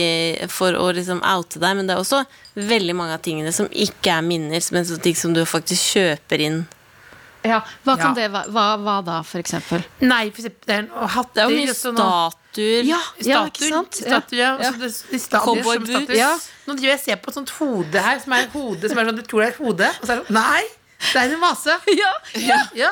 S4: for å liksom oute deg, men det er også veldig mange av tingene som ikke er minner, men som ting som du faktisk kjøper inn.
S5: ja. Hva
S3: Ja.
S5: kan det være? Hva, hva da, for eksempel?
S3: Nei, for eksempel det er en- og
S4: Det
S3: hatter
S4: er jo mye
S3: og sånn, og
S4: statuer.
S5: Ja, ja, ikke
S3: Statuer.
S5: sant? Ja.
S3: statuer, ja.
S5: Ja.
S3: Også det- de statuer som
S4: Cowboyboots.
S3: statuer.
S5: Ja.
S3: Nå driver jeg og ser på et sånt hode her, som er et hode som er sånn, du tror det er et hode, og så er det sånn Nei! Det er en vase.
S5: Ja, ja.
S3: Ja.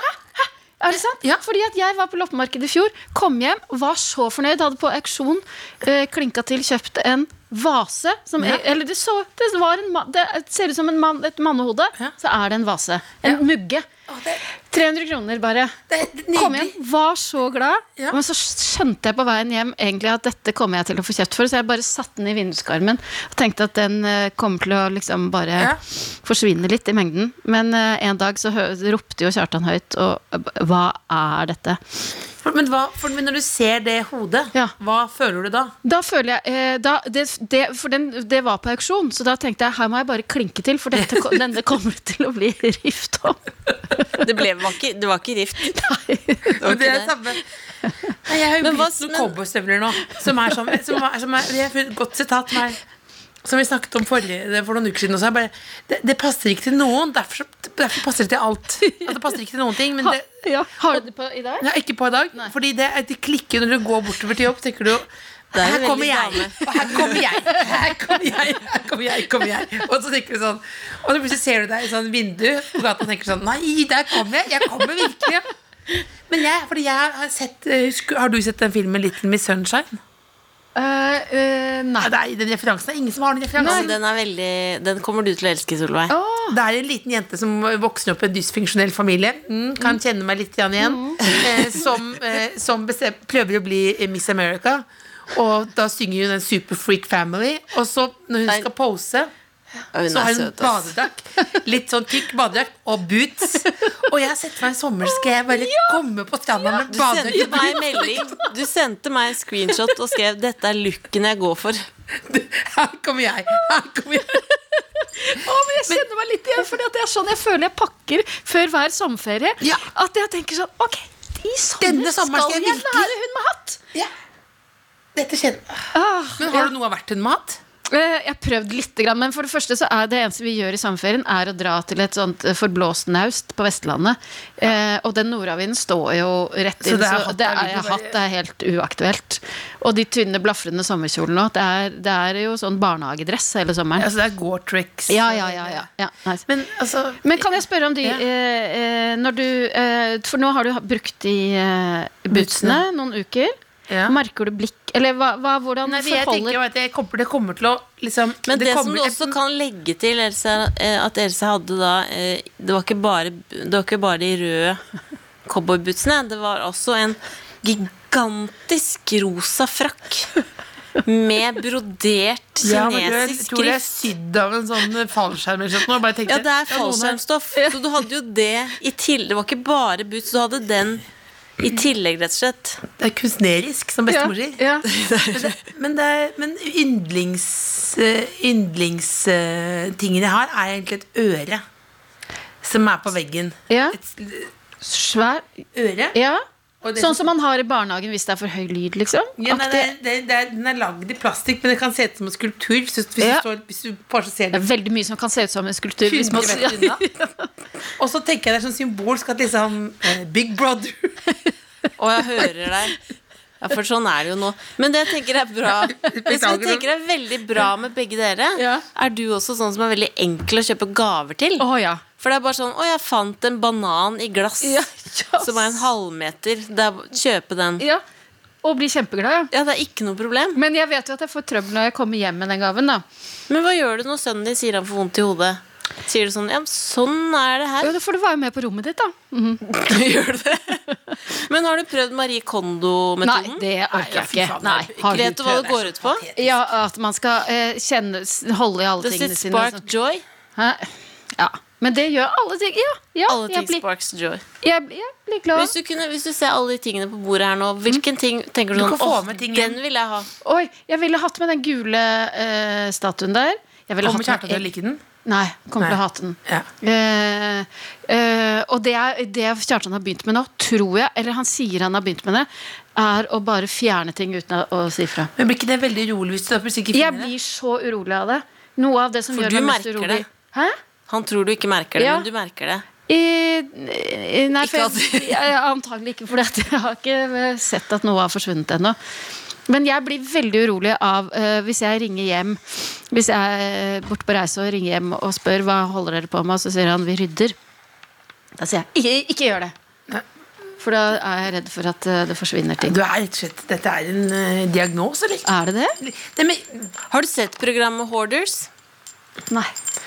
S5: Er det sant?
S3: Ja.
S5: Fordi at jeg var på loppemarkedet i fjor, kom hjem, var så fornøyd, hadde på auksjon eh, klinka til, kjøpt en vase som
S3: Ja.
S5: Eller det, så, det, var en, ma- det ser ut som en mann, et mannehode,
S3: Ja.
S5: så er det en vase. En mugge.
S3: Å, det,
S5: 300 kroner bare.
S3: det er nydelig.
S5: Kom hjem, var så glad.
S3: Ja.
S5: Men så skjønte jeg på veien hjem egentlig at dette kommer jeg til å få kjeft for, så jeg bare satte den i vinduskarmen og tenkte at den eh, kommer til å liksom bare
S3: Ja.
S5: forsvinne litt i mengden. Men eh, en dag så hø ropte jo Kjartan høyt, og eh, hva er dette?
S3: For- Men, hva, for, men når du ser det hodet,
S5: Ja.
S3: hva føler du da?
S5: Da føler jeg eh, da, det, det, For den, det var på auksjon, så da tenkte jeg her må jeg bare klinke til, for dette, ko- denne kommer til å bli rift om.
S4: Det, ble, var ikke, det var ikke rift.
S3: Men det er
S4: det.
S3: samme Nei, jeg har jo
S4: Men hva-
S3: blitt noen
S4: men-
S3: cowboystøvler nå. Som er sånn som er, som er, Det er et godt sitat som, er, som vi snakket om forrige, for noen uker siden. Også, er bare, det, det passer ikke til noen. Derfor, derfor passer det til alt. Altså, det passer ikke til noen ting, men det
S5: Ja. Har du det på i dag?
S3: Nei, ikke på i dag. Fordi det, det klikker når du går bortover til jobb. Tenker du
S4: Det er jo
S3: her
S4: veldig
S3: kommer, jeg,
S4: dame.
S3: og her kommer jeg, her kommer jeg, her kommer jeg, kommer jeg. Og så tenker du sånn Og så plutselig ser du deg i sånn vindu på gata og tenker sånn Nei, der kommer jeg. Jeg kommer virkelig. Men jeg, fordi jeg har sett eh, husker- Har du sett den filmen 'Little Miss Sunshine'?
S4: Eh,
S3: Nei, det er, den referansen er ingen som har den
S4: Altså,
S3: referansen.
S4: den, er veldig, den kommer du til å elske, Solveig.
S3: Det er en liten jente som vokser opp i en dysfunksjonell familie. Mm, kan kjenne meg litt grann igjen. Eh, som eh, som bestem, prøver å bli eh, Miss America. Og da synger hun en Super Freak Family. Og så, når hun
S4: Nei.
S3: skal pose,
S4: Ja, Hun
S3: så har
S4: er
S3: hun
S4: søt, ass.
S3: badedrakt. Litt sånn tykk badedrakt og boots. Og jeg har sett for meg i sommer skal jeg bare komme på stranda med
S4: Du sendte
S3: badedrakt.
S4: meg melding Du sendte meg en screenshot og skrev 'Dette er looken jeg går for'.
S3: Her kommer jeg. Her kommer jeg.
S5: Å, men jeg kjenner meg litt igjen, for det er sånn jeg føler jeg pakker før hver sommerferie.
S3: Ja.
S5: At jeg tenker sånn Ok, i sommer
S3: Denne sommeren skal
S5: skal
S3: jeg
S5: jeg
S3: virkelig-
S5: være hun med hatt!
S3: Ja. Dette kjenner
S5: Ah,
S3: Men har du noe av hvert hun må ha hatt?
S5: eh, jeg har prøvd litt, grann, men for det første så er det eneste vi gjør i sommerferien, er å dra til et sånt eh, forblåst naust på Vestlandet. Eh, og den nordavinden står jo rett
S3: Så
S5: inn,
S3: det er
S5: så
S3: hatt,
S5: det
S3: da
S5: er,
S3: ligger
S5: jeg
S3: bare-
S5: hatt det er helt uaktuelt. Og de tynne, blafrende sommerkjolene òg. Det, er- det er jo sånn barnehagedress hele sommeren.
S3: Altså, det er Gore-tricks.
S5: Ja, ja, ja. ja, ja. Nice.
S3: Men altså
S5: Men kan jeg spørre om de
S3: Ja.
S5: eh, eh, når du, eh, For nå har du ha- brukt de eh, bootsene noen uker.
S3: ja.
S5: Merker du blikk Eller hva, hva, hvordan
S3: Nei, for jeg tenker
S5: forholder
S3: jo at jeg kommer, det kommer til å liksom
S4: Men det, som
S3: kommer-
S4: du også kan legge til, Else, er at- eh, at Else hadde da eh, Det var ikke bare, det var ikke bare de røde cowboybootsene. Det var også en gigantisk rosa frakk med brodert
S3: ja, men du, jeg
S4: kinesisk
S3: tror det er
S4: skrift.
S3: sydd av en sånn fallskjerm eller sånt. Nå bare tenkte
S4: Ja,
S3: jeg,
S4: det er
S3: noen har-
S4: fallskjermstoff. Så du hadde jo det i tillegg. Det var ikke bare boots, du hadde den i tillegg, rett og slett.
S3: Det er kunstnerisk, som
S5: Ja,
S3: bestemor sier.
S5: ja.
S3: Men det- Men, det er- men yndlings eh, yndlingstingen jeg har, er egentlig et øre som er på veggen.
S5: Ja.
S3: Et s-
S5: Svær
S3: øre.
S5: Ja.
S3: Og det-
S5: Sånn som man har i barnehagen hvis det er for høy lyd, liksom.
S3: ja, nei,
S5: Aktig.
S3: det, det, det er, Den er lagd i plastikk, men det kan se ut som en skulptur. Hvis, du- hvis,
S5: Ja.
S3: du, står, hvis du bare ser den
S5: Det er veldig mye som kan se ut som en skulptur. Hvis
S3: 20
S5: man,
S3: meter unna. Og så tenker jeg det er sånn symbolsk at liksom eh, Big Brother
S4: Og jeg hører deg. Ja, for sånn er det jo nå. Men det jeg tenker er bra Hvis vi
S3: Beklager.
S4: tenker er veldig bra med begge dere,
S3: Ja.
S4: er du også sånn som er veldig enkel å kjøpe gaver til.
S5: Å, ja.
S4: For det er bare sånn Å, jeg fant en banan i glass som er en halvmeter. Det er, kjøpe den.
S5: ja. Og bli kjempeglad, ja.
S4: Ja, det er ikke noe problem.
S5: Men jeg vet jo at jeg får trøbbel når jeg kommer hjem med den gaven. da
S4: Men hva gjør du når sønnen din sier han får vondt i hodet? Sier du sånn Ja, men sånn er det her.
S5: Jo, da får du være med på rommet ditt, da.
S4: Gjør du det? Men har du prøvd Marie Kondo-metoden?
S5: Nei, det orker jeg ikke. Nei, har
S4: Vet
S5: du-
S4: du hva det går ut på?
S5: ja, At man skal eh, kjenne, s- holde i alle
S4: Does
S5: tingene
S4: it
S5: sine.
S4: spark
S5: sånn.
S4: joy?
S5: Hæ? Ja. Men det gjør alle ting. Ja, ja
S4: Alle
S5: jeg,
S4: ting
S5: blir,
S4: sparks joy.
S5: jeg, jeg blir glad.
S4: Hvis du, kunne, hvis du ser alle de tingene på bordet her nå, hvilken ting tenker du,
S3: Du
S4: sånn
S3: kan få
S4: Åh,
S3: med ting
S4: den vil jeg ha.
S5: Oi, jeg ville hatt med den gule eh, statuen der. Jeg ville
S3: Kommer
S5: hatt
S3: Kjartan
S5: med
S3: til å like den?
S5: Nei, kommer til å
S3: Nei.
S5: hate den.
S3: Ja.
S5: Eh, eh, og det, er, det Kjartan har begynt med nå, tror jeg, eller han sier han har begynt med det, er å bare fjerne ting uten å, å si fra.
S3: Men blir ikke det veldig urolig hvis du plutselig ikke
S5: Jeg
S3: finner det?
S5: blir så urolig av det. Noe av det som
S4: For
S5: gjør
S4: du
S5: meg mest
S4: merker det.
S5: urolig. Hæ?
S4: Han tror du ikke merker det,
S5: Ja.
S4: men du merker det.
S5: I, i- nei, for
S4: Ikke
S5: jeg,
S4: at-
S5: jeg, antagelig ikke, for jeg har ikke sett at noe har forsvunnet ennå. Men jeg blir veldig urolig av eh, hvis jeg ringer hjem Hvis jeg er borte på reise og ringer hjem og spør hva holder dere på med, og så sier han vi rydder. Da sier jeg ikke, ikke gjør det. For da er jeg redd for at eh, det forsvinner ting.
S3: Du er rett og slett Dette er en eh, diagnose, eller?
S5: Er det det?
S3: Nei, men
S4: Har du sett programmet Hoarders?
S5: Nei.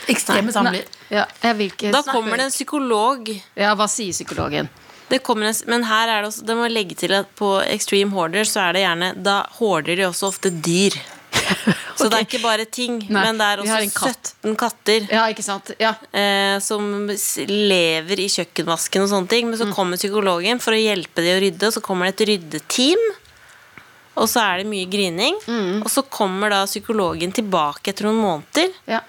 S3: ekstreme
S5: Nei.
S3: samler.
S5: Ja, jeg vil ikke
S4: Da kommer det en psykolog.
S5: Ja, hva sier psykologen?
S4: Det kommer en, men her er det også, det må jeg legge til at på Extreme Hoarder så er det gjerne Da hoarder de også ofte dyr. Så det er ikke bare ting,
S5: Nei,
S4: men det er
S5: vi har en
S4: også
S5: katt.
S4: 17 katter.
S5: Ja, ikke sant? Ja.
S4: eh, som s- lever i kjøkkenvasken og sånne ting. Men så
S5: Mm.
S4: kommer psykologen for å hjelpe dem å rydde, og så kommer det et ryddeteam. Og så er det mye grining.
S5: Mm.
S4: Og så kommer da psykologen tilbake etter noen måneder.
S5: ja.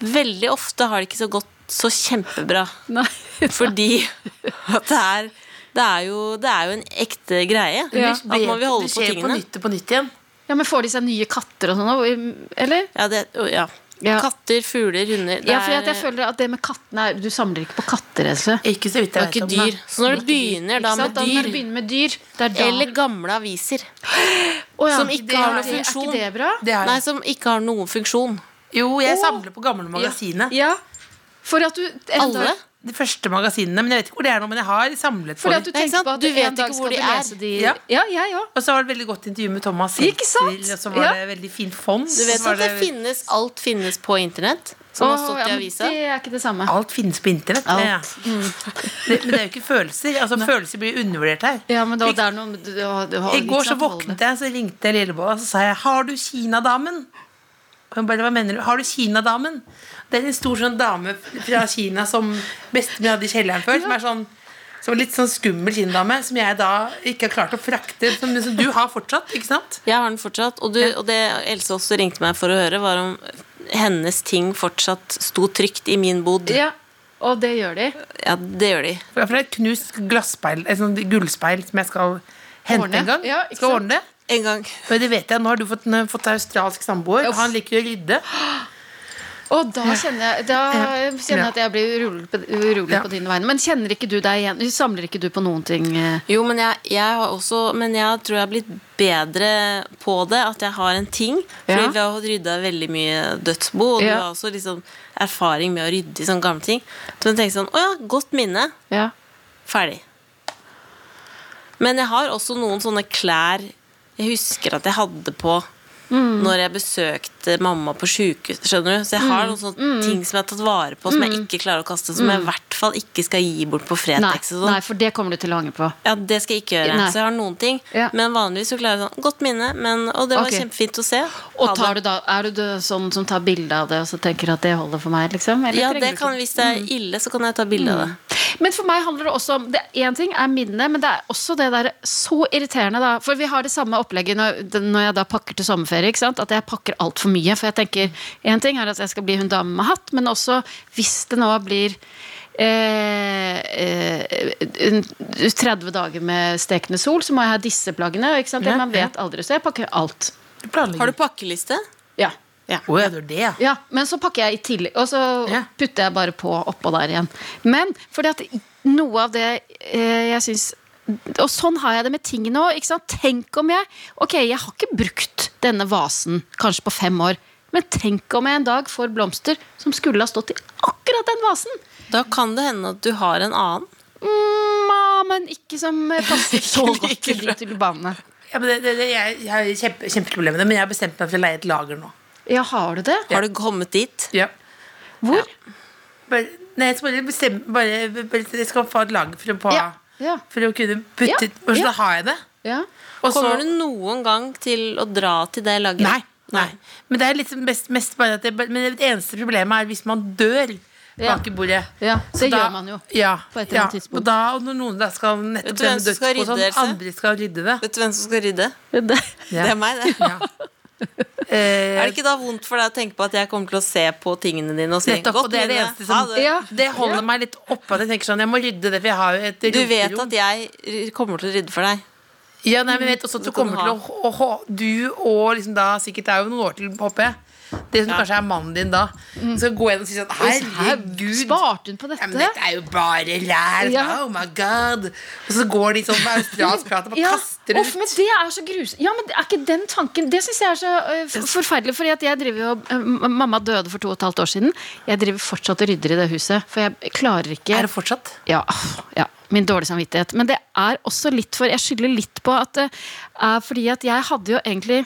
S4: Veldig ofte har det ikke så gått så kjempebra.
S5: Nei.
S4: Fordi at det er det er, jo, det er jo en ekte greie.
S5: Ja.
S4: At man vil holde på
S3: Det skjer på
S4: tingene.
S3: nytt og på nytt igjen.
S5: ja, men får de seg nye katter og sånn òg? Eller?
S4: Ja, det, ja.
S5: Ja.
S4: Katter, fugler, hunder. Det
S5: Ja, for
S4: er-
S5: at jeg føler at det med kattene er, Du samler ikke på katter, Else.
S3: Ikke så vidt
S4: det
S3: jeg
S4: er
S3: vet
S4: ikke
S3: om.
S4: dyr.
S3: da.
S4: Så når du begynner da
S5: Ikke sant?
S4: med
S5: Da Når du
S4: dyr
S5: begynner med dyr, det er da
S4: eller gamle aviser
S5: Å ja,
S4: som ikke
S5: det
S4: har noen
S5: er-
S4: funksjon.
S5: Er ikke det bra?
S3: Det er,
S4: Nei, som ikke har noen funksjon.
S3: jo, jeg samler på gamle magasiner.
S5: Ja. For at du en
S4: Alle.
S5: dag-
S3: De første magasinene. Men jeg vet ikke hvor det er nå, men jeg har samlet på
S5: Fordi at
S3: dem.
S5: du
S4: Nei, ikke
S5: tenker
S4: sant?
S5: på at
S4: Du vet
S5: en dag
S4: ikke hvor
S5: skal
S4: de
S5: du
S4: er.
S5: lese de
S3: Ja.
S5: ja jeg òg.
S3: Og så var det et veldig godt intervju med Thomas
S5: Ikke sant?
S3: Seltzer, og så var
S5: Ja.
S3: det veldig fint fond.
S4: Du vet at det finnes, alt finnes på internett, som har
S5: Åh,
S4: stått
S5: ja,
S4: i
S5: men
S4: avisa.
S5: Det er ikke det samme.
S3: Alt finnes på internett.
S4: Alt.
S3: Ja.
S5: Mm.
S3: Det, men det er jo ikke følelser. Altså, følelser blir undervurdert her.
S5: Ja, sånn men da, det er noe, du, har- du har,
S3: I går
S5: ikke
S3: så
S5: sant,
S3: våknet jeg, så ringte jeg Lillebolla og så sa jeg, 'Har du Kinadamen?' Og Hun bare, hva mener du? Har du Kinadamen? Det er en stor sånn dame fra Kina som bestemor hadde i kjelleren før. Som er sånn som er litt sånn skummel kinadame, som jeg da ikke har klart å frakte. Som, som du har fortsatt, ikke sant?
S4: Jeg har den fortsatt. Og, du, og det Else også ringte meg for å høre, var om hennes ting fortsatt sto trygt i min bod.
S5: Bolde. Ja, og det gjør de.
S4: Ja, det gjør de.
S3: For det er et knust glasspeil, et sånt gullspeil som jeg skal hente
S5: Ordne.
S3: en gang.
S5: Ja, ikke
S3: skal
S5: sant?
S3: ordne det.
S4: En gang.
S3: Men det vet jeg, nå har du fått, fått deg australsk samboer.
S5: Uff.
S3: Han liker å rydde.
S5: Og da kjenner jeg, da
S3: Ja.
S5: kjenner jeg at jeg blir urolig, på, urolig
S3: Ja.
S5: på dine vegne. Men kjenner ikke du deg igjen? Samler ikke du på noen ting? eh?
S4: Jo, men jeg, jeg har også Men jeg tror jeg har blitt bedre på det. At jeg har en ting. Fordi
S5: Ja.
S4: vi har rydda veldig mye dødsbo. Og du
S5: Ja.
S4: har også liksom erfaring med å rydde i sånne gamle ting. Så jeg tenker sånn Å ja, godt minne.
S5: Ja.
S4: Ferdig. Men jeg har også noen sånne klær jeg husker at jeg hadde på
S5: Mm.
S4: når jeg besøkte mamma på sjukehuset. Skjønner du? Så jeg har
S5: Mm.
S4: noen sånne ting som jeg har tatt vare på, som jeg ikke klarer å kaste. Som jeg i hvert fall ikke skal gi bort på
S5: Nei,
S4: Fretex. og sånn.
S5: nei, for det kommer du til å angre på.
S4: Ja, det skal jeg ikke gjøre.
S5: Nei.
S4: Så jeg har noen ting.
S5: Ja.
S4: Men vanligvis så klarer jeg sånn Godt minne, men, og det var
S5: Ok.
S4: kjempefint å se.
S5: Og
S4: Ha
S5: tar du
S4: det.
S5: da, er du da sånn som tar bilde av det og så tenker at det holder for meg? liksom? Eller
S4: Ja,
S5: trenger
S4: det
S5: du
S4: kan,
S5: ikke? Mm.
S4: hvis det er ille, så kan jeg ta bilde av det.
S5: Men for meg handler det også om det- Én ting er minnet, men det er også det der så irriterende, da. For vi har det samme opplegget når, når jeg da pakker til sommerferie. ikke sant? At jeg pakker altfor mye. For jeg tenker, én ting er at jeg skal bli hun dame med hatt, men også hvis det nå blir eh, eh, eh, en- 30 dager med stekende sol, så må jeg ha disse plaggene. Ikke sant?
S4: Ja,
S5: Man vet aldri, så jeg pakker alt.
S3: Du planlegger.
S4: Har du pakkeliste?
S5: Ja.
S3: Å ja, du gjør det, ja.
S5: Ja, men så pakker jeg i tillegg, og så
S3: Ja.
S5: putter jeg bare på oppå der igjen. Men fordi at noe av det eh, jeg syns Og sånn har jeg det med ting nå. Ikke sant? Tenk om jeg Ok, jeg har ikke brukt denne vasen kanskje på fem år. Men tenk om jeg en dag får blomster som skulle ha stått i akkurat den vasen!
S4: Da kan det hende at du har en annen.
S5: Mm, ah, men ikke som passer så godt til de tulipanene.
S3: ja men det, det, det, jeg, jeg har kjempe, kjempeproblemer med det, men jeg har bestemt meg for å leie et lager nå.
S5: Ja, har du det?
S4: Har du kommet dit?
S3: Ja.
S5: Hvor?
S3: Bare, nei, jeg skal bare bestemme bare, bare, Jeg skal få et lager for å, på,
S5: Ja, ja.
S3: For å kunne putte
S5: Ja,
S3: Og så
S5: ja.
S3: har jeg det.
S5: Ja.
S3: Og så-
S4: Kommer du noen gang til å dra til det lageret?
S3: Nei. nei. Men det er liksom best, mest bare at det, men det eneste problemet er hvis man dør
S5: Ja.
S3: bak i bordet.
S5: ja
S3: Så
S5: det
S3: da-
S5: gjør man jo.
S3: Ja,
S5: på et eller annet
S3: ja.
S5: tidspunkt.
S3: Og da, og når noen da skal nettopp
S4: Vet du hvem
S3: dømme
S4: som skal
S3: dødsbo,
S4: rydde,
S3: sånn,
S4: Else?
S3: andre skal rydde det.
S4: Vet du hvem som skal rydde?
S5: Det,
S3: Ja.
S4: Det er meg, det.
S3: Ja. Eh,
S4: Er det ikke da vondt for deg å tenke på at jeg kommer til å se på tingene dine og si
S3: nettopp, og
S4: godt
S3: det er det
S4: minne,
S3: eneste
S4: ha
S3: som
S4: det.
S5: Ja.
S3: Det holder meg litt oppe at jeg tenker sånn Jeg må rydde det, for jeg har jo et
S4: Du vet
S3: roterom.
S4: at jeg r- kommer til å rydde for deg.
S3: Ja, nei, men jeg vet også at du
S4: Det kan du
S3: kommer til å, å, å Du og liksom da sikkert Det er jo noen år til, håper jeg. Det som kanskje er mannen din da.
S5: Mm.
S3: Så gå igjen og si sånn Herregud.
S5: Sparte hun på
S3: Ja,
S5: dette?
S3: men dette er jo bare ræl.
S5: Ja.
S3: Oh my god. Og så går de sånn med australsk prat og bare
S5: Ja,
S3: kaster
S5: uff,
S3: ut.
S5: men det er så grus Ja, men er ikke den tanken Det syns jeg er så øh, f- forferdelig. Fordi at jeg driver jo øh, m- Mamma døde for to og et halvt år siden. Jeg driver fortsatt og rydder i det huset. For jeg klarer ikke
S3: Er det fortsatt?
S5: ja, ja, min dårlige samvittighet. Men det er også litt for Jeg skylder litt på at det er fordi at jeg hadde jo egentlig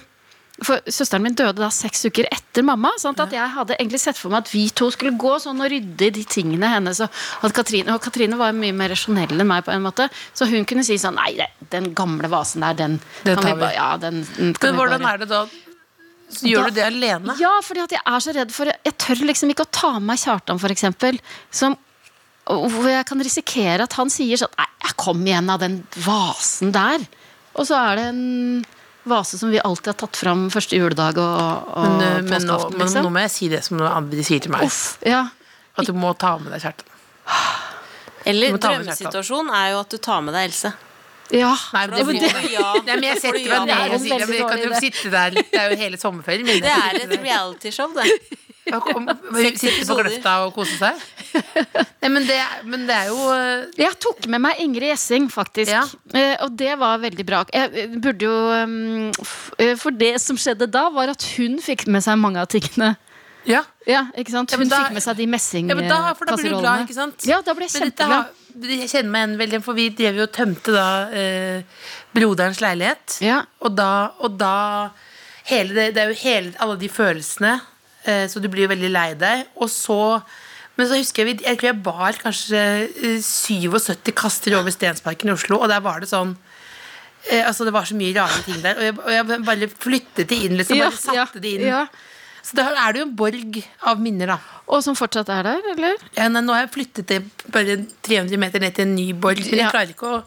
S5: for Søsteren min døde da seks uker etter mamma. Sant? At Jeg hadde egentlig sett for meg at vi to skulle gå sånn og rydde i de tingene hennes. Og, at Katrine, og Katrine var jo mye mer rasjonell enn meg, på en måte så hun kunne si sånn Nei, det, den gamle vasen der, den
S3: Den
S5: kan vi
S3: tar vi."
S5: bare Ja, den, den kan
S3: Men
S5: vi
S3: hvordan
S5: bare
S3: er det da? Så gjør du det alene?
S5: ja, fordi at jeg er så redd for Jeg tør liksom ikke å ta med meg Kjartan, for eksempel. Som, og hvor jeg kan risikere at han sier sånn Nei, jeg kom igjen av den vasen der. Og så er det en vase som vi alltid har tatt fram første juledag og, og
S3: Men, øh, men, nå,
S5: påskeaften,
S3: men nå
S5: liksom.
S3: må jeg si det som noen andre sier til meg.
S5: Uff, ja.
S3: At du må ta med deg kjerten.
S4: Eller
S3: Du må ta med
S4: drømmesituasjonen er jo at du tar med deg Else.
S5: ja.
S3: Nei, men det
S4: Da
S3: blir
S4: får du ja.
S3: Nei, men jeg
S4: Da får du
S3: setter
S4: ja
S3: meg ned
S5: det er
S3: og
S5: en
S3: sier
S5: veldig
S3: men jeg kan
S5: dårlig
S3: jo sitte der. Det er jo hele sommerferien min.
S4: Det er et realityshow, det.
S3: Ja, kom- Sitte på
S4: episoder.
S3: grøfta og kose seg? Nei, men det, er- men det er jo eh,
S5: Jeg tok med meg Ingrid Gjessing, faktisk.
S3: Ja.
S5: Eh, og det var veldig bra. Jeg eh, burde jo ehm, f- eh, For det som skjedde da, var at hun fikk med seg mange av tingene.
S3: Ja,
S5: Ja, ikke sant?
S3: Ja,
S5: Hun
S3: men da-
S5: fikk med seg de
S3: ja men da, for da blir du glad,
S5: messingkasserollene.
S3: ikke sant?
S5: Ja, da ble jeg
S3: Men dette
S5: kjempeglad.
S3: har- jeg kjenner meg igjen veldig, for vi drev jo og tømte da eh, broderens leilighet.
S5: Ja.
S3: Og da, og da hele det, det er jo hele, alle de følelsene, eh, så du blir jo veldig lei deg. Og så men så husker jeg, vi- jeg tror jeg bar kanskje eh, 77 kaster over Stensparken i Oslo, og der var det sånn eh, Altså, det var så mye rare ting der, og jeg, og jeg bare flyttet det inn, liksom.
S5: Ja,
S3: bare satte
S5: ja,
S3: det inn.
S5: ja.
S3: Så da er det jo en borg av minner, da.
S5: Og som fortsatt er der, eller?
S3: Ja, nei, nå har jeg flyttet det bare 300 meter ned til en ny borg, men jeg
S5: Ja.
S3: klarer ikke å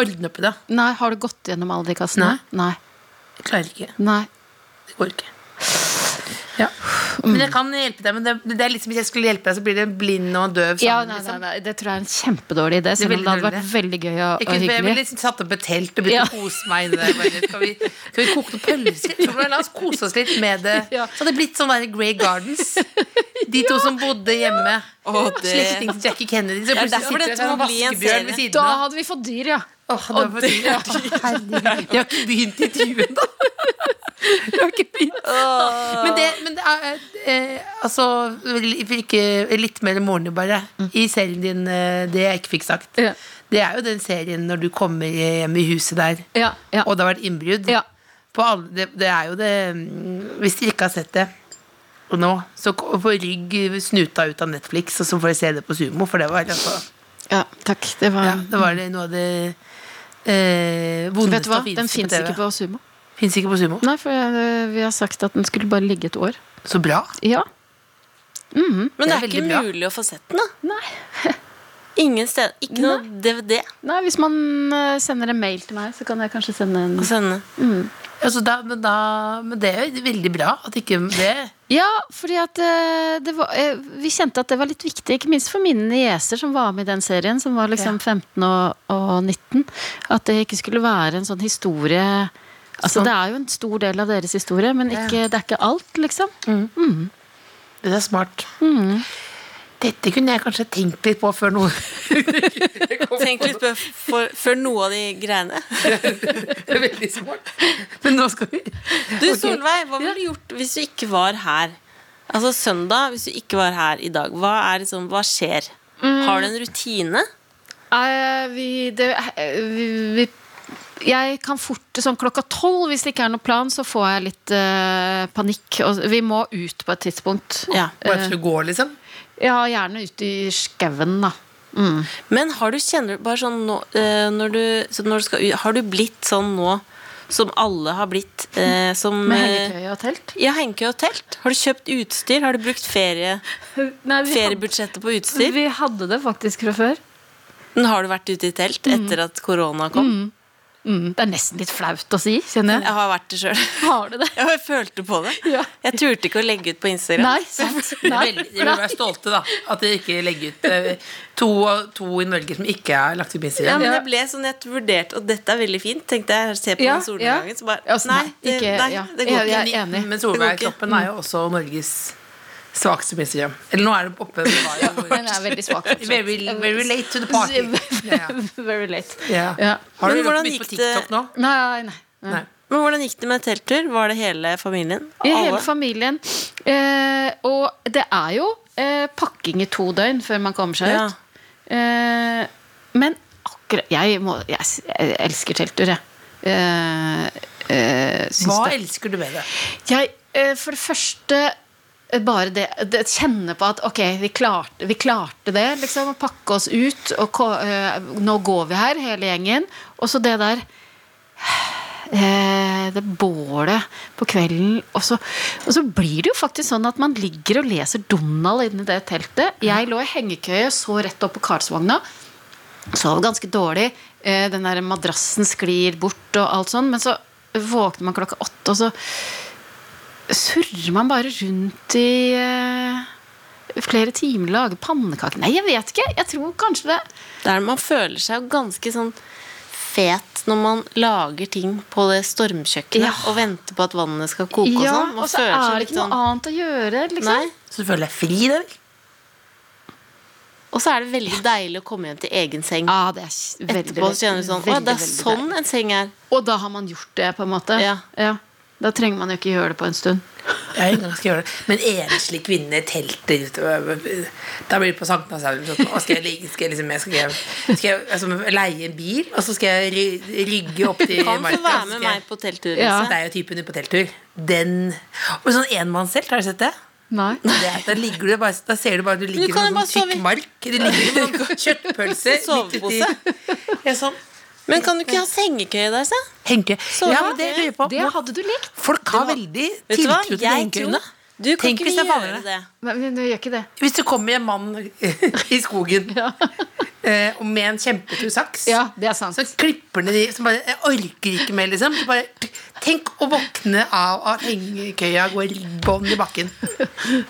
S3: ordne opp i det.
S5: Nei, har du gått gjennom alle de kassene? Nei.
S3: Jeg klarer ikke.
S5: Nei.
S3: Det går ikke. Ja. Men jeg kan hjelpe deg, men det, det er liksom, hvis jeg skulle hjelpe deg, så blir det en blind og en døv
S5: Ja,
S3: sammen.
S5: nei, nei,
S3: liksom.
S5: nei, det tror jeg er en kjempedårlig idé, selv om det hadde vært veldig gøy og,
S3: Jeg,
S5: og
S3: kunne, jeg ville
S5: hyggelig.
S3: liksom satt opp et telt og begynt
S5: Ja.
S3: å kose meg inni der. Bare, Skal vi, skal vi koke noen pølser? Tror du det? La oss kose oss litt med det.
S5: Ja.
S3: Så hadde det blitt sånn der Grey Gardens. De to som bodde hjemme.
S4: Å, det-
S3: Slike ting som Jackie Kennedy. Så
S4: er
S3: plutselig
S4: derfor
S3: sitter
S4: dette
S3: det en
S4: må bli en
S3: vaskebjørn ved
S4: serie.
S3: siden
S5: Da
S3: av.
S5: hadde vi fått dyr, ja.
S3: Åh, det var for tidlig. Herregud. Jeg har ikke begynt intervjuet, da. Jeg har ikke begynt. Men det, men det er eh, Altså, ikke, eh, litt mer morgen, bare. I serien din, eh, det jeg ikke fikk sagt.
S5: Ja.
S3: Det er jo den serien når du kommer hjem i huset der,
S5: Ja, ja.
S3: og det har vært innbrudd.
S5: Ja.
S3: På alle, det, det er jo det mm, Hvis dere ikke har sett det og nå, så k- få rygg snuta ut av Netflix, og så får dere se det på Sumo, for det var altså
S5: ja takk. Det var
S3: ja, det var det noe av det eh, vondeste
S5: Vet du hva,
S3: og fineste
S5: den fins
S3: TV.
S5: ikke på Sumo.
S3: Finnes ikke på Sumo.
S5: Nei, for eh, vi har sagt at den skulle bare ligge et år.
S3: Så bra.
S5: Ja.
S4: Men det
S3: Det
S4: er
S3: er
S4: ikke
S3: veldig bra.
S4: mulig å få sett den, da.
S5: Nei.
S4: Ingen sted, ikke noe DVD
S5: Nei, hvis man eh, sender en mail til meg, så kan jeg kanskje sende en
S4: å sende.
S3: Altså, da, men, da, men det er jo veldig bra at ikke det
S5: Ja, fordi at eh, det var, eh, vi kjente at det var litt viktig, ikke minst for mine nieser som var med i den serien, som var liksom 15 og, og 19, at det ikke skulle være en sånn historie Altså,
S3: Sånn.
S5: Det er jo en stor del av deres historie, men ikke, det er ikke alt, liksom.
S3: Det er smart. Mm. Dette kunne jeg kanskje tenkt litt på før noe
S4: Tenk litt på for, for noe av de greiene.
S3: Det er veldig smart. Men nå skal vi
S4: Du Solveig, hva ville du gjort hvis du ikke var her? Altså søndag, hvis du ikke var her i dag, hva, er liksom, hva skjer?
S5: Mm.
S4: Har du en rutine?
S5: Eh, vi, det, eh, vi, vi, jeg kan fort sånn klokka tolv, hvis det ikke er noen plan, så får jeg litt eh, panikk. Og vi må ut på et tidspunkt.
S4: Ja.
S3: Bare til å gå, liksom.
S5: Ja, gjerne ut i skauen, da. Mm.
S4: Men har du, kjenner du bare sånn nå, eh, når, du, så når du skal ut Har du blitt sånn nå som alle har blitt? Eh, som,
S5: Med
S4: eh,
S5: hengekøye og telt.
S4: Ja, hengekøye og telt. Har du kjøpt utstyr? Har du brukt ferie,
S5: Nei,
S4: feriebudsjettet på utstyr?
S5: vi hadde det faktisk fra før.
S4: Men Har du vært ute i telt etter at korona kom?
S5: Mm, det er nesten litt flaut å si, kjenner jeg.
S4: Jeg har vært det sjøl.
S5: Har du det?
S4: Jeg bare følte på det.
S5: Ja.
S4: Jeg turte ikke å legge ut på Instagram.
S5: Nei, sant? Nei.
S3: Veldig, de bør være stolte, da. At de ikke legger ut eh, to, to i Norge som ikke er lagt ut på
S4: Ja,
S3: Instagram.
S4: men jeg ble sånn, jeg vurderte, og dette er veldig fint, tenkte jeg, se på
S5: Ja,
S4: den solnedgangen, så bare,
S5: Ja, altså,
S4: nei,
S5: nei,
S4: det,
S5: ikke-
S4: nei,
S5: ja.
S4: det går
S5: Jeg-
S4: ikke.
S5: jeg er enig.
S3: Men
S4: Det går ikke.
S3: Solveig-kroppen er jo også Norges svakeste på Instagram. Eller nå er det oppe. men var jo-
S5: Den er veldig svak.
S3: Very, very late to the party. Ja.
S5: Very late.
S3: Ja.
S5: Ja.
S3: Har du
S4: Men
S3: gjort
S4: hvordan
S3: mye på
S4: gikk det-
S3: TikTok nå?
S5: Nei, nei. nei.
S3: Nei.
S4: Men hvordan gikk det med telttur? Var det hele familien?
S5: I hele
S4: Alle?
S5: familien. Eh, og det er jo eh, pakking i to døgn før man kommer seg
S4: Ja.
S5: ut. Eh, men akkurat jeg, må, jeg, s- jeg elsker telttur, jeg. Eh, eh, syns
S3: Hva
S5: det-
S3: elsker du med det?
S5: Jeg, eh, for det første eh, bare det, det Kjenne på at ok, vi klarte, vi klarte det. liksom, Å pakke oss ut. Og ko- eh, nå går vi her, hele gjengen. Og så det der eh, Det bålet på kvelden. Og så, og så blir det jo faktisk sånn at man ligger og leser Donald inni det teltet. Jeg lå i hengekøye, så rett opp på Karlsvogna. Sov ganske dårlig. Eh, Den der madrassen sklir bort og alt sånn. Men så våkner man klokka åtte, og så surrer man bare rundt i eh, flere timer og lager pannekaker. Nei, jeg vet ikke. Jeg tror kanskje det.
S4: Der man føler seg jo ganske sånn fet når man lager ting på det stormkjøkkenet
S5: Ja.
S4: og venter på at vannet skal koke og
S5: Ja,
S4: sånn. Man
S5: og så
S4: føler seg
S5: er det
S4: litt sånn-
S5: ikke noe annet å gjøre, liksom.
S4: Nei,
S3: Så du føler deg fri, da vel?
S4: og så er det veldig deilig å komme hjem til egen seng.
S5: Ja, det er s- veldig,
S4: Etterpå så kjenner du sånn, å,
S5: veldig,
S4: det er
S5: veldig
S4: sånn
S5: deilig.
S4: en seng er.
S5: Og da har man gjort det, på en måte.
S4: Ja.
S5: Da trenger man jo ikke gjøre det på en stund.
S3: Jeg er ikke engang skal gjøre det. Men enslig kvinne telter utover- Da blir det på Sankthanshaugen. sånn, «Å, Skal jeg, ligge- skal jeg, liksom, jeg, skal, jeg, skal jeg altså, leie en bil, og så skal jeg ry- rygge opp til
S4: Kan få
S3: marka,
S4: være
S3: så
S4: med
S3: skal jeg-
S4: meg på telttur.
S5: Ja.
S4: Lise.
S3: Det er jo typen ute på telttur. Den Men sånn enmannstelt, har du sett det?
S5: Nei.
S3: det er, da, ligger du bare, da ser du bare du ligger i
S4: kan jo
S3: en
S4: bare
S3: sånn
S4: sove i-
S3: tykk mark. Du ligger med noen kjøttpølse midt uti ja, sånn.
S4: Men kan du ikke ha sengekøye der, se?
S3: Henke.
S4: Sove.
S3: Ja, men det lurer jeg på.
S5: Det hadde du likt.
S3: Folk har veldig
S4: Vet du hva?
S3: tiltro til
S4: Jeg
S3: hengekøyene.
S4: tror Du kan
S3: Tenk
S4: ikke
S3: hvis det er
S4: gjøre
S3: farligere.
S4: det.
S5: Men men du gjør ikke det.
S3: Hvis det kommer en mann i skogen eh, og med en kjempetur saks,
S5: Ja, det er sant.
S3: så klipper han de som bare Jeg orker ikke mer, liksom. Så bare, tenk å våkne av at hengekøya går bånn i bakken.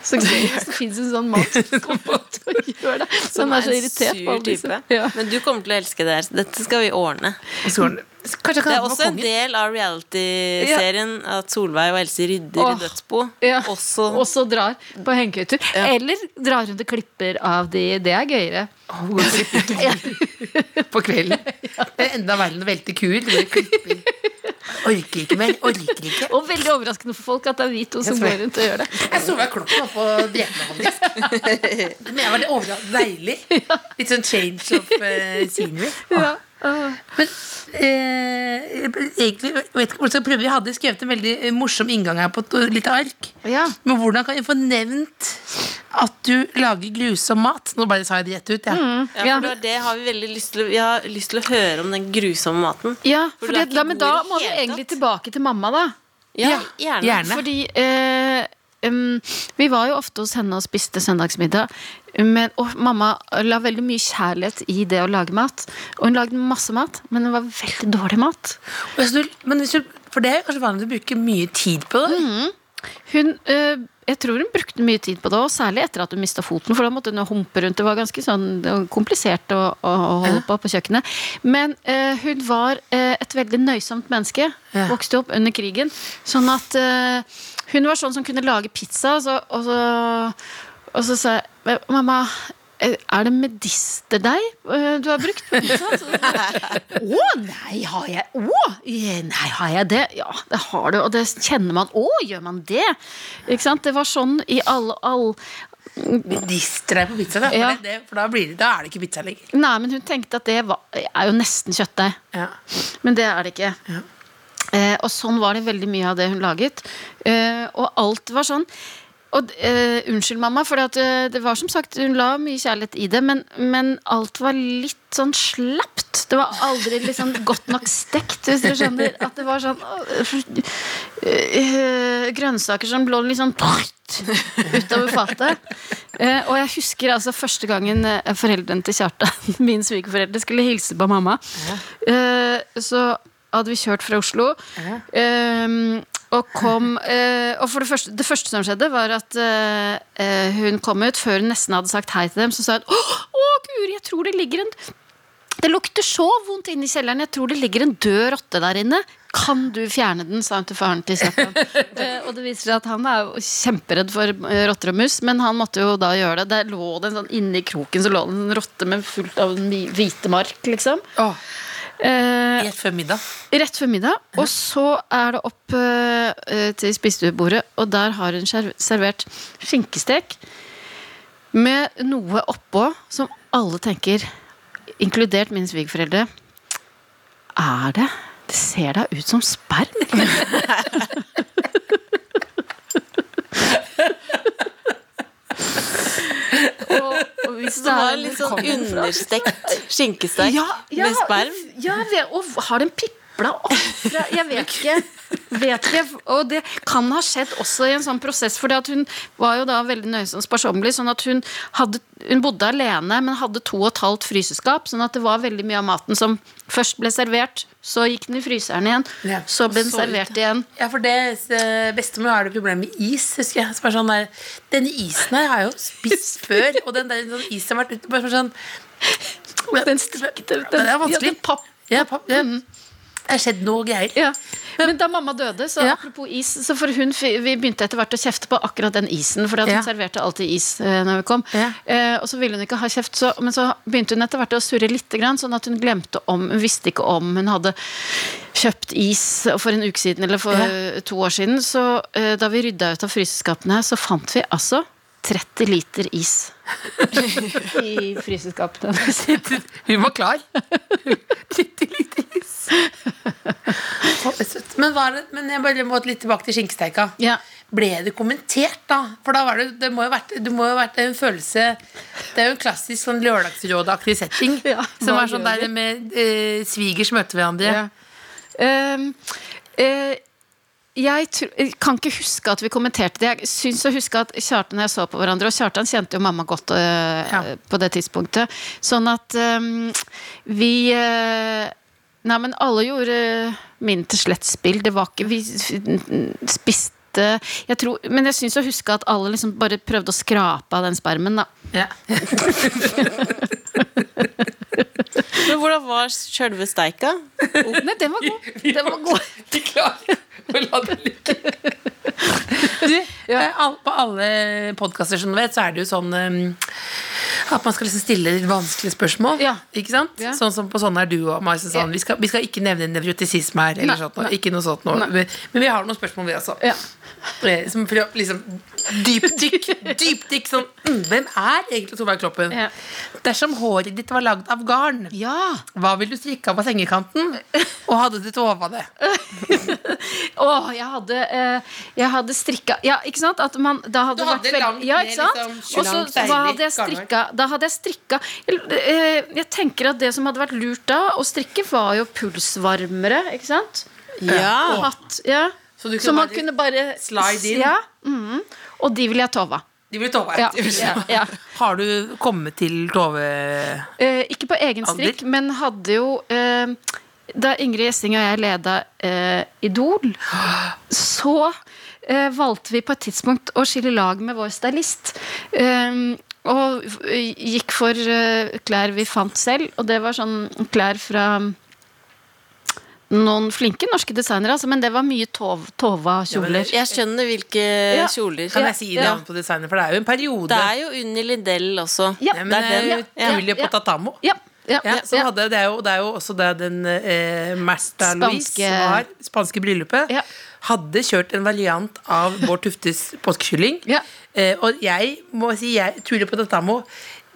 S5: Så gøy hvis det fins en sånn mann som kommer til å gjøre det. Som
S4: Som
S5: er så irritert på alle disse. Ja.
S4: Men du kommer til å elske det her. Dette skal vi ordne.
S3: Og så går den- Kanskje jeg
S4: Det
S3: kan
S4: er
S3: ha den på
S4: også en
S3: kongen.
S4: del av reality-serien at Solveig og Else rydder
S5: Åh,
S4: i dødsbo.
S5: Ja.
S4: Også
S5: Og så drar på hengekøytur. Eller drar rundt og klipper av de. Det er gøyere.
S3: Å, hvor går klipping? På kvelden. Det er enda verre enn å velte kuer. Det blir klipping. Orker ikke mer. Orker ikke.
S5: Og veldig overraskende for folk at det er vi to
S3: Jeg
S5: som
S3: tror-
S5: går rundt og gjør det.
S3: Jeg så meg klokken opp på drepende, faktisk. Men jeg var litt overraskende deilig. Litt sånn change of eh, scenery.
S5: Ja.
S3: Men eh, egentlig, jeg vet ikke hvor jeg skal prøve. Jeg hadde skrevet en veldig eh, morsom inngang her på et lite ark.
S5: Ja.
S3: Men hvordan kan jeg få nevnt at du lager grusom mat? Nå bare sa jeg det rett ut, jeg.
S5: Mm.
S4: Ja, for det, var det har vi veldig lyst til å, Vi har lyst til å høre om den grusomme maten.
S5: Ja,
S4: For
S5: for
S4: du er
S5: det,
S4: ikke
S5: da, men
S4: god i
S5: da
S4: det
S5: må vi
S4: hele
S5: egentlig
S4: tatt.
S5: tilbake til mamma, da.
S4: Ja,
S3: Ja,
S4: gjerne.
S3: gjerne.
S5: Fordi eh, um, Vi var jo ofte hos henne og spiste søndagsmiddag. Men, og mamma la veldig mye kjærlighet i det å lage mat. Og hun lagde masse mat, men det var veldig dårlig mat.
S3: Og hvis du, men hvis du, for det er jo kanskje vanlig å bruke mye tid på det.
S5: Mm. Hun, øh, jeg tror hun brukte mye tid på det, og særlig etter at hun mista foten. For da måtte hun jo humpe rundt. Det var ganske sånn det var komplisert å, å, å holde på på kjøkkenet. Men øh, hun var øh, et veldig nøysomt menneske.
S3: Ja.
S5: Vokste opp under krigen. Sånn at øh, hun var sånn som kunne lage pizza, og så, og så, og så sa jeg Mamma, eh, er det medisterdeig øh, du har brukt? på pizzaen?" Å nei, har jeg Å, eh, nei, har jeg det? Ja, det har du, og det kjenner man. Å, gjør man det? Ikke sant? Det var sånn i alle all,
S3: Medister deg på pizza, da. For,
S5: Ja.
S3: det- det, for da, blir det, da er det ikke pizza lenger.
S5: Nei, men hun tenkte at det var, er jo nesten kjøttdeig.
S3: Ja.
S5: Men det er det ikke.
S3: Ja.
S5: Eh, og sånn var det veldig mye av det hun laget. Eh, og alt var sånn. Og, eh, unnskyld, mamma, for at, eh, det var som sagt, hun la mye kjærlighet i det, men, men alt var litt sånn slapt. Det var aldri liksom godt nok stekt, hvis du skjønner. At det var sånn øh, øh, Grønnsaker som lå litt sånn utover fatet. Eh, og jeg husker altså første gangen eh, foreldrene til Kjartan, min svigerforeldre, skulle hilse på mamma. Eh, så hadde vi kjørt fra Oslo. eh, og kom eh, Og for det første, det første som skjedde, var at eh, eh, hun kom ut før hun nesten hadde sagt hei til dem. Så sa hun Åh, å, Guri, jeg tror det ligger en Det lukter så vondt inne i kjelleren. Jeg tror det ligger en død rotte der inne. Kan du fjerne den? sa hun til faren til Kjartan. Eh, og det viser seg at han er jo kjemperedd for eh, rotter og mus, men han måtte jo da gjøre det. Der lå det en sånn inni kroken så lå det en sånn rotte med fullt av mi- hvite mark, liksom.
S3: Åh,
S5: Eh,
S3: Rett før middag.
S5: Rett før middag. Og så er det opp eh, til spisestuebordet, og der har hun skjer- servert skinkestek med noe oppå som alle tenker, inkludert mine svigerforeldre Er det? Det ser da ut som sperm. og, og hvis
S4: Det var litt sånn understekt skinkestek med sperm.
S5: ja, ve- og har den pipla opp fra Jeg vet ikke. Vet ikke. Og det kan ha skjedd også i en sånn prosess, for hun var jo da veldig nøysom sparsommelig. Sånn at hun, hadde, hun bodde alene, men hadde to og et halvt fryseskap. Sånn at det var veldig mye av maten som først ble servert, så gikk den i fryseren igjen,
S3: Ja.
S5: så ble den
S4: Så ut,
S5: servert igjen.
S3: Ja, for det eh, bestemor har det problem med is, husker jeg. Så bare sånn der, Denne isen her har jeg jo spist før, og den der sånn isen har vært ute bare sånn
S5: Den strikte
S3: Det er vanskelig.
S5: Ja, den papp,
S3: Ja, papp, ja.
S5: Mm.
S3: Det har skjedd noe greier.
S5: Ja. Men da mamma døde, så
S3: Ja.
S5: apropos is så for hun, Vi begynte etter hvert å kjefte på akkurat den isen, for at hun
S3: Ja.
S5: serverte alltid is eh, når vi kom.
S3: Ja.
S5: Eh, og så ville hun ikke ha kjeft, så, men så begynte hun etter hvert å surre litt, grann, sånn at hun glemte om Hun visste ikke om hun hadde kjøpt is for en uke siden eller for eh, to år siden. Så eh, da vi rydda ut av fryseskapene, så fant vi altså 30 liter is i fryseskapene.
S3: Hun var klar. Litt lite is. Å, det er søtt. Men, var det, men jeg bare må litt tilbake til skinkesteika.
S5: Ja.
S3: Ble det kommentert, da? For da var det, det må jo vært, det må jo vært en følelse Det er jo en klassisk sånn lørdagsrådeaktig setting.
S5: Ja,
S3: som
S5: hva
S3: er sånn
S5: gjør
S3: der med eh, svigers møter hverandre.
S5: Ja. Ehm, eh, jeg tr jeg kan ikke huske at vi kommenterte det. Jeg syns å huske at Kjartan og jeg så på hverandre, og Kjartan kjente jo mamma godt eh,
S3: Ja.
S5: på det tidspunktet. Sånn at ehm, vi eh, Nei, men alle gjorde min til slettspill. Det var ikke Vi f- spiste jeg tror, men jeg syns å huske at alle liksom bare prøvde å skrape av den spermen. da
S3: Ja.
S4: Men hvordan var sjølve steika?
S5: Nei, den var god! Den var god.
S3: Vi klarer å la det ligge. Du, eh, all- På alle podkaster som du vet, så er det jo sånn eh, at man skal liksom stille litt vanskelige spørsmål.
S5: Ja.
S3: Ikke sant?
S5: Ja.
S3: Sånn som på sånne er du og meg. så Sånn, vi, skal, vi skal ikke nevne nevrotisisme her. Eller
S5: Nei,
S3: sånt, noe. Ikke noe sånt nå. Men men vi har noen spørsmål, vi også.
S5: Ja.
S3: Eh, Som prøver å liksom dypdykk. dypdykk sånn, mm, hvem er egentlig Solveig Kloppen?
S5: Ja.
S3: Dersom håret ditt var lagd av garn,
S5: ja.
S3: hva ville du strikke av på sengekanten? Og hadde du tova det?
S5: Åh, jeg hadde, eh, jeg hadde strikka Ja, ikke sant? At man, da hadde
S3: Du
S5: det vært
S3: hadde
S5: veldig-
S3: langt
S5: ja,
S3: ned,
S5: ikke sant?
S3: liksom,
S5: Og så-
S3: langt,
S5: så hva hadde jeg
S3: deilig garnverk.
S5: strikka? Da hadde jeg strikka jeg, eh, jeg tenker at det som hadde vært lurt da, å strikke, var jo pulsvarmere, ikke sant?
S4: Ja.
S3: Ah.
S5: Hatt, ja.
S3: Så du kunne
S5: Så man
S3: bare
S5: kunne bare
S3: slide inn?
S5: Ja. Og de vil jeg tove.
S3: De blir Tove.
S5: Ja.
S3: De blir
S5: Ja.
S3: Tove.
S5: Ja.
S3: Har du kommet til Tove
S5: Eh, ikke på egen strikk,
S3: Alder?
S5: men hadde jo eh, Da Ingrid Gjessing og jeg leda eh, Idol, så eh, valgte vi på et tidspunkt å skille lag med vår stylist. Eh, og f- gikk for eh, klær vi fant selv, og det var sånn klær fra noen flinke norske designere, altså, men det var mye tov, Tova-kjoler.
S4: Jeg skjønner hvilke
S5: Ja.
S4: kjoler.
S3: Kan jeg si
S5: Ja.
S3: navn på designet, for det er jo en periode.
S4: Det er jo Unni Lindell også.
S5: Ja.
S3: Nei,
S4: det
S3: men,
S4: er den,
S3: eh,
S5: ja.
S3: Julie
S5: Ja.
S3: Potatamo.
S5: Ja, ja,
S3: Ja,
S5: ja,
S3: så
S5: ja.
S3: hadde, det, er jo, det er jo også det den eh, Märtha Louise
S5: Spanske-
S3: som var, spanske bryllupet,
S5: Ja.
S3: hadde kjørt en variant av Bård Tuftes påskekylling.
S5: Ja.
S3: Eh, og jeg må si, jeg Tulle på Tatamo,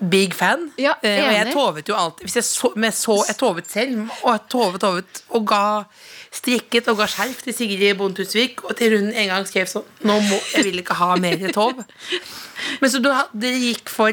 S3: big fan.
S5: Ja,
S3: eh, og jeg
S5: enig.
S3: tovet jo alltid. Hvis jeg, så, men jeg, så, jeg tovet selv, og jeg tovet, tovet, og ga strikket og ga skjerf til Sigrid Bonde Tusvik, og til hun en gang skrev sånn Nå må jeg vil ikke ha mer tov. Men så du, ha- dere gikk for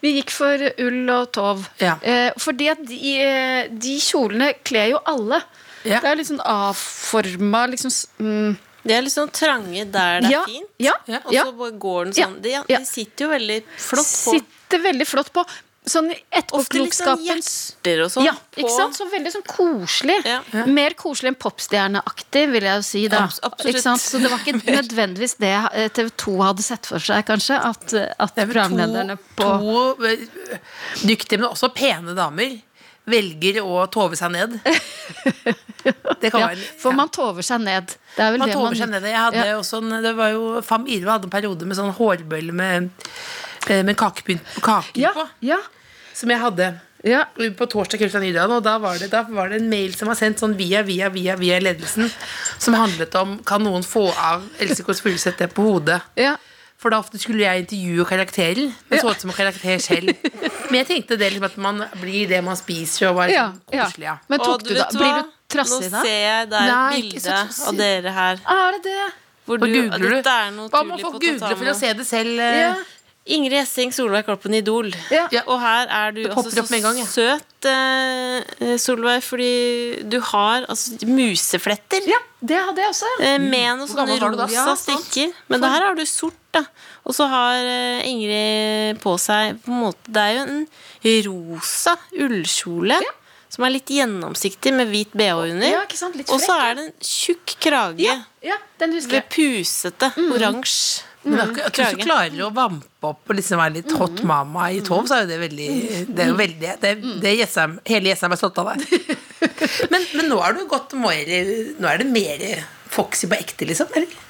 S5: Vi gikk for ull og tov.
S3: Ja.
S5: Eh, fordi at de, eh, de kjolene kler jo alle.
S3: Ja.
S5: Det er litt sånn A-forma liksom, s- mm,
S4: De er litt sånn trange der det er
S5: ja,
S4: fint.
S5: Ja,
S3: Ja.
S4: Og
S5: ja.
S4: så bare går den
S5: Ja.
S4: sånn. De,
S5: Ja.
S4: de sitter jo veldig flott på.
S5: Sitter veldig flott på. Sånn i
S4: Ofte litt sånn
S5: etterpåklokskapens
S4: hjerter og sånn.
S5: ja,
S4: på.
S5: ikke sant? Så veldig sånn koselig.
S4: Ja.
S5: Mer koselig enn popstjerneaktig, vil jeg jo si. Da.
S4: Abs- absolutt.
S5: Ikke sant? Så det var ikke nødvendigvis det eh, TV 2 hadde sett for seg, kanskje. At, eh, at
S3: Det er vel
S5: programlederne på
S3: to, to eh, dyktige, men også pene damer velger å tove seg ned. Det kan
S5: ja,
S3: være
S5: For
S3: ja.
S5: man tover seg ned. Det er vel
S3: Man
S5: det
S3: tover
S5: man
S3: seg ned. Jeg hadde også en, det var jo, Fam Irve hadde en periode med sånn hårbøyle med, eh, med kakepynt kaker
S5: ja,
S3: på,
S5: ja,
S3: som jeg hadde
S5: ja.
S3: på torsdag kveld fra Nydalen, og da var, det, da var det en mail som var sendt sånn via, via, via, via ledelsen, som handlet om kan noen få av Else Kåss Furuseth det på hodet?
S5: Ja.
S3: For da ofte skulle jeg intervjue karakterer. Men så ut som en karakter selv. Men jeg tenkte det liksom at man blir det man spiser, og var
S5: ja,
S3: liksom koselig. Ja.
S5: Men
S4: Og
S5: tok du
S4: vet
S5: da? Blir
S4: hva?
S5: du trassig da?
S4: Nå ser jeg der
S3: Nei, ikke så
S4: bildet
S3: trassig.
S4: av dere her.
S5: Er det det?
S4: Hvor
S3: Og googler du.
S4: Dette er noe
S3: Hva må
S4: Tulip
S3: folk
S4: og
S3: google for å
S4: Totamo.
S3: se det selv? eh,
S5: Ja.
S4: Ingrid Essing, Solveig Kloppen, Idol.
S5: Ja.
S3: Ja.
S4: Og her er du
S3: popper
S4: altså
S3: opp med
S4: så
S3: en gang, ja.
S4: søt, eh, Solveig, fordi du har altså, musefletter.
S5: ja, det hadde jeg også. ja.
S4: eh, Med noen sånne
S3: gammel var du da?
S4: rosa
S3: Ja, sant.
S4: strikker. Men det her har du sort, da. Og så har eh, Ingrid på seg på en måte, Det er jo en rosa ullkjole som er litt gjennomsiktig med hvit bh under.
S5: Ja, ikke sant? Litt
S4: Og så
S5: frekk.
S4: er det en tjukk krage.
S5: Ja, den
S4: Det
S5: husker jeg.
S4: pusete. Oransje.
S3: Men
S5: Mm.
S3: det er ikke- at hvis
S4: Krage.
S3: du klarer å vampe opp og liksom være litt hot mama i tov, så er jo det veldig Det
S5: Mm.
S3: er jo veldig det, det er Jessheim, Hele Jessheim er stolt av deg. Men, men nå er du gått mer Nå er det mer Foxy på ekte, liksom? Er det,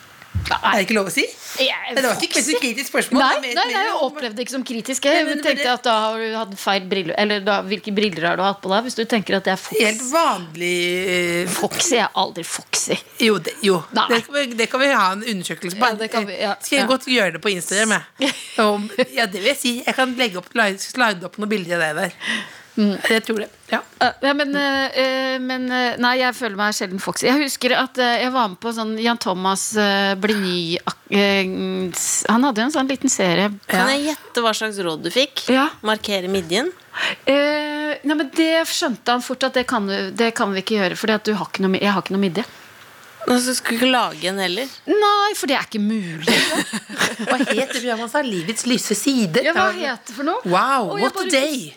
S3: er det ikke lov å si? Nei, det var ikke et kritisk spørsmål.
S5: Nei,
S3: det
S5: nei,
S3: er
S5: nei,
S3: mer-
S5: jeg opplevde det ikke som kritisk.
S3: Nei,
S5: Jeg
S3: men det
S5: tenkte
S3: bare-
S5: at da har du hatt feil briller Eller da, hvilke briller har du hatt på deg? Hvis du tenker at jeg er
S3: Helt
S5: foxy.
S3: vanlig eh,
S5: Foxy jeg er aldri foxy.
S3: Jo, det, jo.
S5: Nei.
S3: Det, kan vi, det kan vi ha en undersøkelse på.
S5: Ja, det kan vi, ja.
S3: Skal jeg
S5: Ja.
S3: godt gjøre det på Instagram? Jeg. Om, ja, det vil jeg si. Jeg kan legge opp, slide opp noen bilder av deg der.
S5: Mm.
S3: Jeg tror det. Ja.
S5: Eh, Ja, men, eh, eh, men eh, Nei, jeg føler meg sjelden foxy. Jeg husker at eh, jeg var med på sånn Jan Thomas eh, Blini ak- eh, Han hadde jo en sånn liten serie.
S4: Kan
S3: Ja.
S4: jeg gjette hva slags råd du fikk?
S5: Ja.
S4: Markere midjen.
S5: Eh, nei, men Det skjønte han fort at det kan, du- det kan vi ikke gjøre, for jeg har ikke noe, mi- jeg har ikke noe midje.
S4: Og så skulle du ikke lage en heller.
S5: Nei, for det er ikke mulig.
S3: Hva het det programmet hans?
S5: Altså,
S3: da? Livets lyse sider?
S5: Ja, hva heter det for noe?
S3: Wow,
S5: Å, jeg
S3: what
S5: bare-
S3: a day!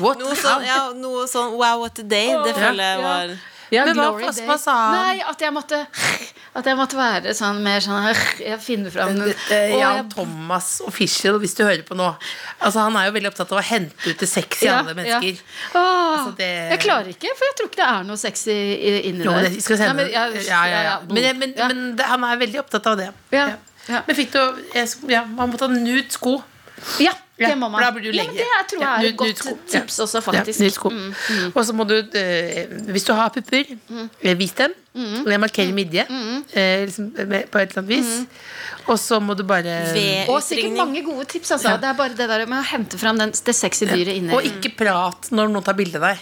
S3: What how-
S4: Noe sånn, ja, noe sånn wow, what a day. Det føler jeg
S5: ja.
S4: var
S5: Ja,
S3: Men hva-
S5: Glory
S3: hva-
S5: Day.
S3: hva sa han?
S5: Nei, at jeg måtte At jeg måtte være sånn mer sånn Jeg finner fram den.
S3: Dette, eh, Jan
S5: Å, jeg-
S3: Thomas Official, hvis du hører på nå. Altså, han er jo veldig opptatt av å hente ut det sexy i
S5: ja,
S3: andre mennesker.
S5: Ja. Åh,
S3: Altså, det-
S5: Jeg klarer ikke, for jeg tror ikke det er noe sexy i- inni
S3: Jo,
S5: der.
S3: det skal jeg sende.
S5: Nei, men, jeg-
S3: ja, ja, ja.
S5: ja,
S3: Men, men,
S5: ja.
S3: men det, han er veldig opptatt av det.
S5: Ja,
S3: Ja.
S5: ja.
S3: Men fikk du jeg- ja, Man måtte ha nude sko.
S5: ja,
S3: Ja,
S5: det må
S3: for
S5: man.
S3: da blir du
S5: ja, men
S3: lengre.
S5: det jeg tror jeg
S3: Ja,
S5: er
S3: nude-
S5: et godt
S3: nudesko. Ja.
S5: tips også,
S3: Ja,
S5: faktisk. Mm,
S3: nude sko. Og så må du, eh, hvis du har pupper, eh, vis dem. Mm. Markere midje
S5: Mm.
S3: eh, liksom, med- på et eller annet vis. Og så må du bare
S5: Og sikkert
S4: V-utringning.
S5: mange gode tips. Altså. Det er bare det der med å hente fram den, det sexy dyret inni.
S3: Og ikke prat når noen tar bilde av deg.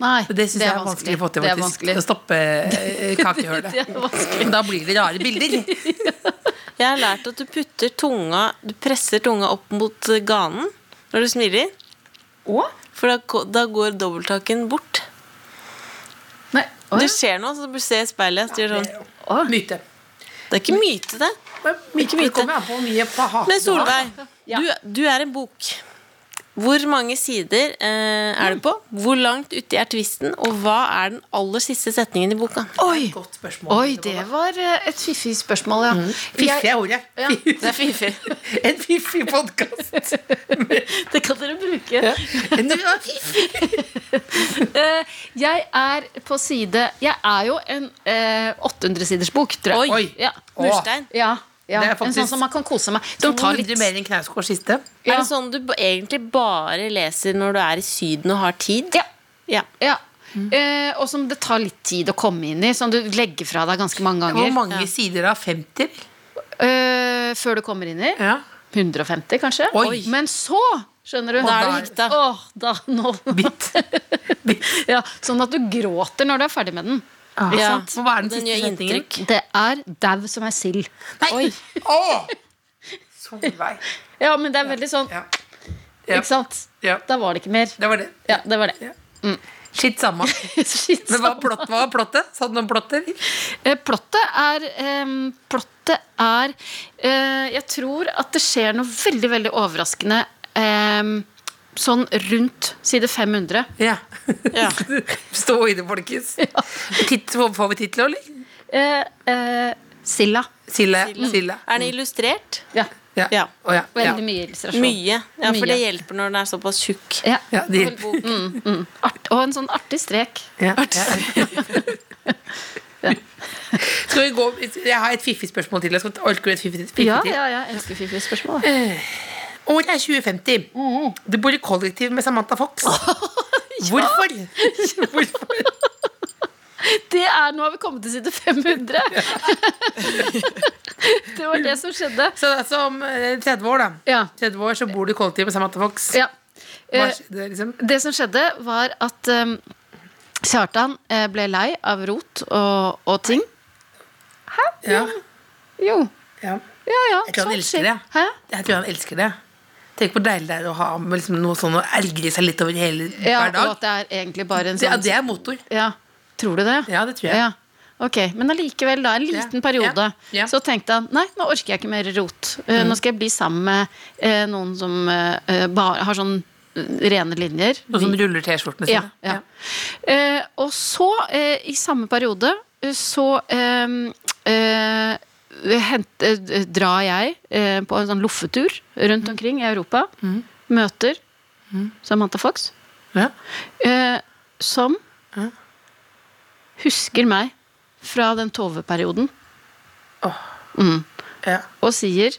S5: Nei,
S3: Det syns jeg er vanskelig å få til.
S5: Det er
S3: faktisk
S5: vanskelig.
S3: Å stoppe eh, kakehølet.
S5: Det er vanskelig.
S3: Da blir det rare bilder.
S4: Jeg har lært at du putter tunga Du presser tunga opp mot eh, ganen når du smiler. For da, ko- da går dobbelttaken bort.
S5: Nei, å,
S4: Du
S5: ja.
S4: ser noe, så du ser i speilet. Så du gjør sånn.
S5: Å.
S3: Myte.
S4: Det er ikke myte, det.
S3: Myte,
S4: myte.
S3: kommer an på hvor mye på haken
S4: Men
S3: du har.
S4: Solveig,
S6: Ja.
S4: du, du er en bok. Hvor mange sider eh, er du på? Hvor langt uti er tvisten? Og hva er den aller siste setningen i boka?
S5: Oi!
S3: Godt spørsmål.
S5: Oi, det var eh, et fiffig spørsmål, ja.
S3: Fiffig er ordet.
S5: Mm. Ja,
S3: Fiffig.
S5: det er fiffig.
S3: En fiffig podkast.
S5: Det kan dere bruke. Eh, jeg er på side Jeg er jo en eh, 800-siders bok, tror jeg.
S3: Oi.
S5: Ja.
S4: Murstein.
S5: Ja, ja.
S3: Det er
S5: En
S3: faktisk
S5: sånn som man kan kose meg. Som tar litt
S3: 200 mer enn Knausgård siste.
S5: Ja.
S4: Er det sånn du b- egentlig bare leser når du er i Syden og har tid?
S5: Ja.
S4: Ja.
S5: ja. Eh, og som det tar litt tid å komme inn i. Som du legger fra deg ganske mange
S3: Hvor
S5: ganger.
S3: mange sider av 50?
S5: Eh, før du kommer inn i.
S3: Ja.
S5: 150, kanskje.
S3: Oi.
S5: Men så, skjønner du
S4: Da er det hekta.
S5: Åh, da, nå.
S3: Bitt.
S5: ja, sånn at du gråter når du er ferdig med den.
S3: Ah,
S4: Ja.
S3: sant. Hva er den
S4: Den
S3: siste
S4: gjør
S3: setningen?
S4: inntrykk.
S5: Det er dau som er sild.
S3: Nei! Å! Solveig.
S5: Ja, men det er veldig sånn,
S3: Ja. Ja.
S5: ikke sant?
S3: Ja.
S5: Da var det ikke mer.
S3: Det var det.
S5: Ja, det var det.
S3: Ja. Skitt samme.
S5: Shit,
S3: Men hva
S5: sant.
S3: plott- hva var plottet? Sa du noen plotter?
S5: Eh, Plottet er, ehm, plottet er eh, Jeg tror at det skjer noe veldig, veldig overraskende ehm, sånn rundt side 500.
S3: Ja.
S4: Ja.
S3: Stå i det, folkens. Titt, får vi tittel, eller?
S5: Eh, eh, Silla.
S3: Silde. Silde.
S4: Er den illustrert?
S5: Ja.
S4: Ja.
S3: Å, ja. Ja.
S5: Veldig mye illustrasjon.
S4: Mye. Ja, for
S5: Mye.
S4: det hjelper når den er såpass tjukk.
S5: Ja.
S3: Ja, det hjelper.
S5: Art, og en sånn artig strek.
S3: Ja. Ja. Skal vi gå Jeg har et fiffig spørsmål til. Jeg skal orker du et fiffig fiffig Eh, til?
S5: Ja, ja, ja, jeg elsker fiffige spørsmål. da.
S3: Året er 2050.
S5: Mm.
S3: Du bor i kollektiv med Samantha Fox. Hvorfor? Hvorfor?
S5: Det er, Nå har vi kommet til side 500! det var det som skjedde.
S3: Så det er som eh, 30 år, da.
S5: Ja.
S3: 30 år så bor du i kollektiv med Samantha Fox.
S5: ja.
S3: Hva
S5: Eh,
S3: skjedde, liksom?
S5: Det som skjedde var at um, Kjartan eh, ble lei av rot og, og ting.
S3: Ja.
S5: Jo,
S3: ja.
S5: ja, ja.
S3: Jeg tror han
S5: sånn
S3: elsker
S5: skjer.
S3: det.
S5: Hæ?
S3: Jeg tror han elsker det. Tenk hvor deilig det er å ha med liksom, noe sånn å ergre seg litt over hele
S5: Ja,
S3: hver
S5: og
S3: dag.
S5: at det er egentlig bare en
S3: Det, ja,
S5: sånn
S3: det er motor.
S5: Ja, Tror du det?
S3: Ja, det tror jeg.
S5: Ja. Ok, Men allikevel, da. En liten
S3: Ja,
S5: periode.
S3: ja, Mm. ja.
S5: Så tenkte han nei, nå orker jeg ikke mer rot. Eh, Nå skal jeg bli sammen med eh, noen som eh, eh, bare har sånn eh, rene linjer.
S3: Noe som ruller T-skjortene sine.
S5: Ja, ja. Eh, og så, eh, i samme periode, eh, så eh, eh, hent, eh, drar jeg eh, på en sånn loffetur rundt
S3: Mm.
S5: omkring i Europa. Møter Samantha Fox,
S3: Ja.
S5: eh, som
S3: Ja.
S5: husker meg fra den Tove-perioden,
S3: Ja.
S5: og sier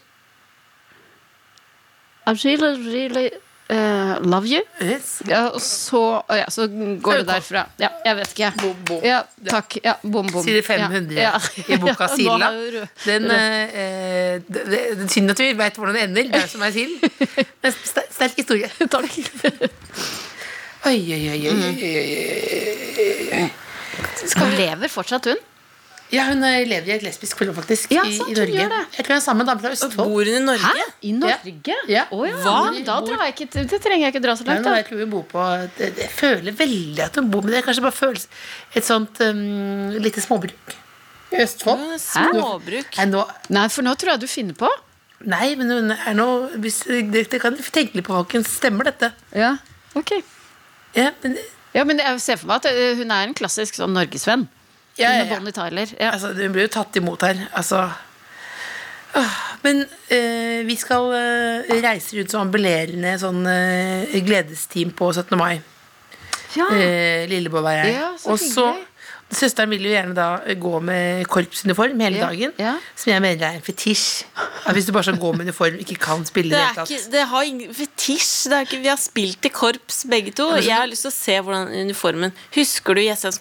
S5: I really, really eh, love you.
S3: Yes.
S5: Ja, og så, ja, så går det derfra. Ja, jeg vet ikke.
S3: Bom, bom.
S5: Ja, takk. Ja, bom, bom.
S3: Side 500
S5: Ja, ja.
S3: i boka
S5: Nå
S3: Silla.
S5: har jo rød-
S3: Den, eh, eh, det, det, det er synd at vi veit hvordan det ender. Det er jo som ei sild. Men ster- sterk historie.
S5: Takk.
S3: Oi, oi, oi, oi, oi, oi, oi, oi.
S5: Hun lever fortsatt, hun.
S3: Ja, hun eh, lever i et lesbisk forhold, faktisk.
S5: Ja,
S3: i,
S5: sant,
S3: I
S5: hun
S3: Norge.
S5: gjør det.
S3: Jeg tror hun er sammen med en dame fra Østfold.
S4: Bor hun i Norge?
S5: I Norge?
S3: Ja.
S5: Å ja.
S3: Hva?
S5: men Da drar jeg ikke, det trenger jeg ikke dra så
S3: Nei,
S5: langt.
S3: nå
S5: Da.
S3: vet jeg hvor hun bor på det, det, Jeg føler veldig at hun bor Men det er kanskje bare følelse Et sånt um, lite småbruk I Østfold
S4: Ja, Småbruk.
S3: Nei, nå,
S5: Nei, for nå tror jeg du finner på.
S3: nei men hun er nå hvis, det, det kan jeg tenke litt på folkens Stemmer dette?
S5: Ja, ok.
S3: Ja, men,
S5: Ja, men jeg ser for meg at eh, hun er en klassisk sånn norgesvenn.
S3: ja, ja,
S5: Hun og
S3: ja.
S5: Bonnie Tyler. Ja.
S3: Altså, Hun blir jo tatt imot her Altså Åh, men eh, vi skal eh, reise rundt som ambulerende sånn, eh, gledesteam på 17. mai.
S5: Ja.
S3: Eh, Lilleborg var jeg.
S5: Ah. Ja, så
S3: og så
S5: hyggelig.
S3: Søsteren vil jo gjerne da gå med korpsuniform hele
S5: Ja,
S3: dagen.
S5: ja.
S3: Som jeg mener er en fetisj. At hvis du bare skal gå med uniform, ikke kan spille i
S4: Det,
S3: det
S4: er
S3: hele
S4: ikke,
S3: tatt.
S4: det har ingen fetisj. Det er ikke, vi har spilt i korps, begge to. Jeg har lyst til å se hvordan uniformen Husker du Jessheim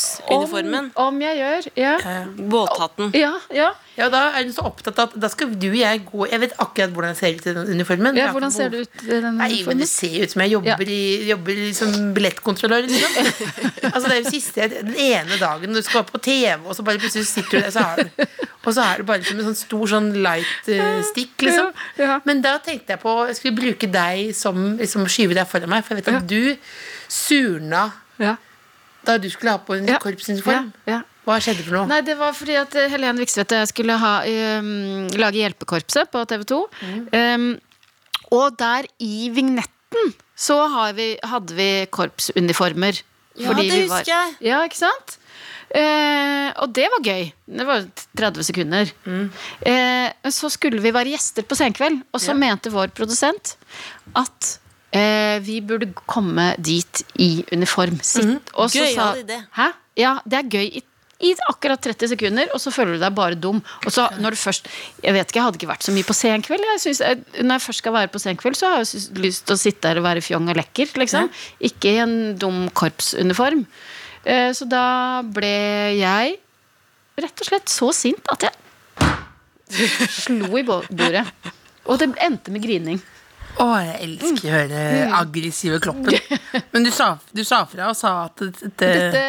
S4: skolekorpsuniformen?
S5: Om, om jeg gjør, ja.
S4: Båthatten.
S5: Ja, ja.
S3: Ja, da er hun så opptatt av at da skal du og jeg gå Jeg vet akkurat hvordan jeg ser ut i den uniformen.
S5: ja hvordan ser det ut? i Den
S3: Nei, men Det
S5: uniformen?
S3: ser jo ut som jeg jobber, i, jobber som billettkontrollør. Liksom. altså, det er jo siste Den ene dagen når du skal på TV, og så bare plutselig sitter du der, så er du Og så er det bare som en sånn stor sånn light eh, stick, liksom.
S5: Ja, ja.
S3: Men da tenkte jeg på Jeg skulle bruke deg som liksom, skyve deg foran meg, for jeg vet at du surna
S5: Ja.
S3: da du skulle ha på en
S5: Ja.
S3: korpsuniform.
S5: Ja, ja.
S3: Hva skjedde for noe?
S5: Nei, det var fordi at eh, Helene Vikstvedt og jeg skulle ha, ehm, lage Hjelpekorpset på TV 2. Ehm, og der i vignetten så har vi, hadde vi korpsuniformer.
S4: Ja, det
S5: vi var-
S4: husker jeg.
S5: Ja, ikke sant? Eh, og det var gøy. Det var 30 sekunder. Eh, så skulle vi være gjester på Senkveld, og så mente vår produsent at eh, vi burde komme dit i uniform. Sitt. Og så sa-
S4: Gøyal idé.
S5: Hæ? Ja, det er gøy i, i akkurat 30 sekunder, og så føler du deg bare dum. Og så når du først, Jeg vet ikke, jeg hadde ikke vært så mye på Senkveld. Jeg synes, jeg, når jeg først skal være på Senkveld, så har jeg sys- lyst til å sitte her og være fjong og lekker. Liksom. Ikke i en dum korpsuniform. Eh, Så da ble jeg rett og slett så sint at jeg slo i bo- bordet. Og det endte med grining.
S3: Å, jeg elsker å høre det aggressive kloppen. Men du sa, du sa fra og sa at det, det,
S5: Dette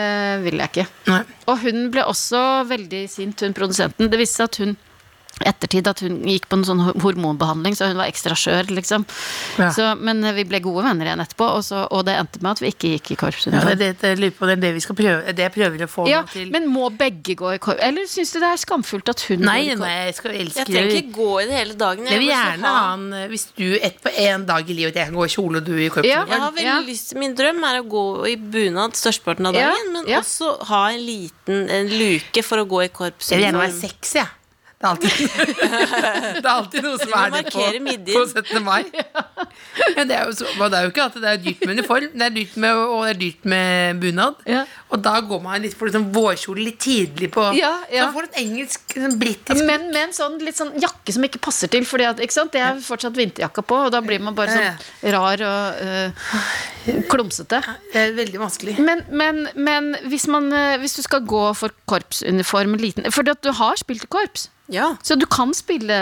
S5: eh, vil jeg ikke.
S3: Nei.
S5: Og hun ble også veldig sint, hun produsenten. Det viste seg at hun ettertid at hun gikk på en sånn ho- hormonbehandling, så hun var ekstra skjør, liksom.
S3: Ja.
S5: Så, men eh, vi ble gode venner igjen etterpå, og, så, og det endte med at vi ikke gikk i
S3: Ja, det,
S5: korpsuniform.
S3: det, det, lurer på, det er det vi skal prøve Det jeg prøver å få
S5: Ja,
S3: meg til.
S5: men må begge gå i korps? Eller syns du det er skamfullt at hun
S3: nei,
S5: går i korps?
S3: nei, jeg skal elske
S4: Jeg trenger ikke gå i det hele dagen.
S3: Jeg vil
S4: bare skal
S3: gjerne ha en eh, Hvis du et på en dag i livet at jeg kan gå i kjole og du i korpsen
S5: Ja.
S4: Jeg har veldig
S5: Ja.
S4: lyst til Min drøm er å gå i bunad størsteparten av
S5: Ja,
S4: dagen, men
S5: ja.
S4: også ha en liten en luke for å gå i korps.
S3: Jeg vil gjerne være
S4: Mm.
S3: sexy, jeg. Det er alltid, det er alltid noe som
S4: vil
S3: er det på,
S4: markere midjen.
S3: på 17. mai. Ja, det, er jo så, men det er jo ikke at det er dyrt med uniform, det er dyrt med, og det er dyrt med bunad.
S5: Ja.
S3: Og da går man litt for liksom vårkjole litt tidlig på
S5: Ja,
S3: Så
S5: ja.
S3: man får en engelsk, en sånn britisk
S5: Men med en sånn, litt sånn jakke som ikke passer til, for det er fortsatt vinterjakka på, og da blir man bare
S3: Ja,
S5: sånn rar og øh, klumsete.
S3: Det er veldig vanskelig.
S5: Men, men, men hvis, man, eh, hvis du skal gå for korpsuniform liten For at du har spilt i korps,
S4: Ja.
S5: så du kan spille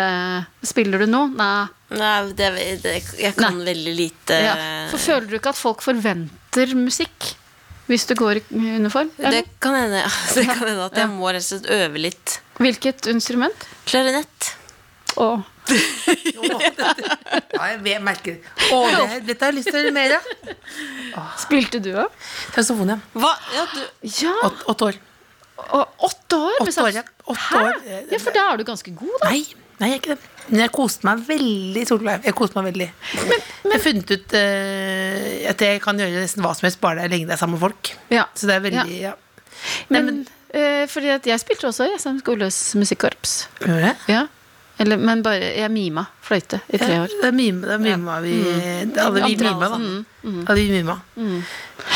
S5: Spiller du nå? Nei.
S4: Nei, det, det, jeg kan veldig lite
S5: Ja.
S3: Eh.
S5: For føler du ikke at folk forventer musikk hvis du går i uniform?
S4: det
S5: Eller?
S4: kan, hende, det kan hende at jeg må rett og slett øve litt.
S5: Hvilket instrument?
S4: Klarinett.
S5: Å.
S3: Åh, dette, ja, jeg vet- merker Åh, det. her- Dette har jeg lyst til å gjøre mer av.
S5: Spilte du òg?
S3: Saksofon, ja.
S4: Hva? Ja, du,
S5: Ja.
S3: Åt- Åtte år.
S5: Og åtte år? med
S3: Åtte år,
S5: saks-
S3: ja. Åtte
S5: Hæ?
S3: år. Eh,
S5: Ja, for da er du ganske god, da.
S3: Nei, nei, jeg er ikke det. Men jeg koste meg veldig. Solveig. Jeg koste meg veldig. jeg har funnet ut eh, at jeg kan gjøre nesten hva som helst, bare det er lenge det er sammen med folk.
S5: Ja.
S3: Så det er veldig ja. Nei,
S5: Men, eh, fordi at jeg spilte også i Sam Skoløs musikkorps.
S3: Gjør det?
S5: Ja. Eller, men bare Jeg mima fløyte i tre
S3: Ja,
S5: år.
S3: det er mime, det er mima vi
S5: Mm.
S3: Det hadde vi
S5: Andre
S3: mima, da.
S5: halsen.
S3: Hadde vi mima.
S5: Mm.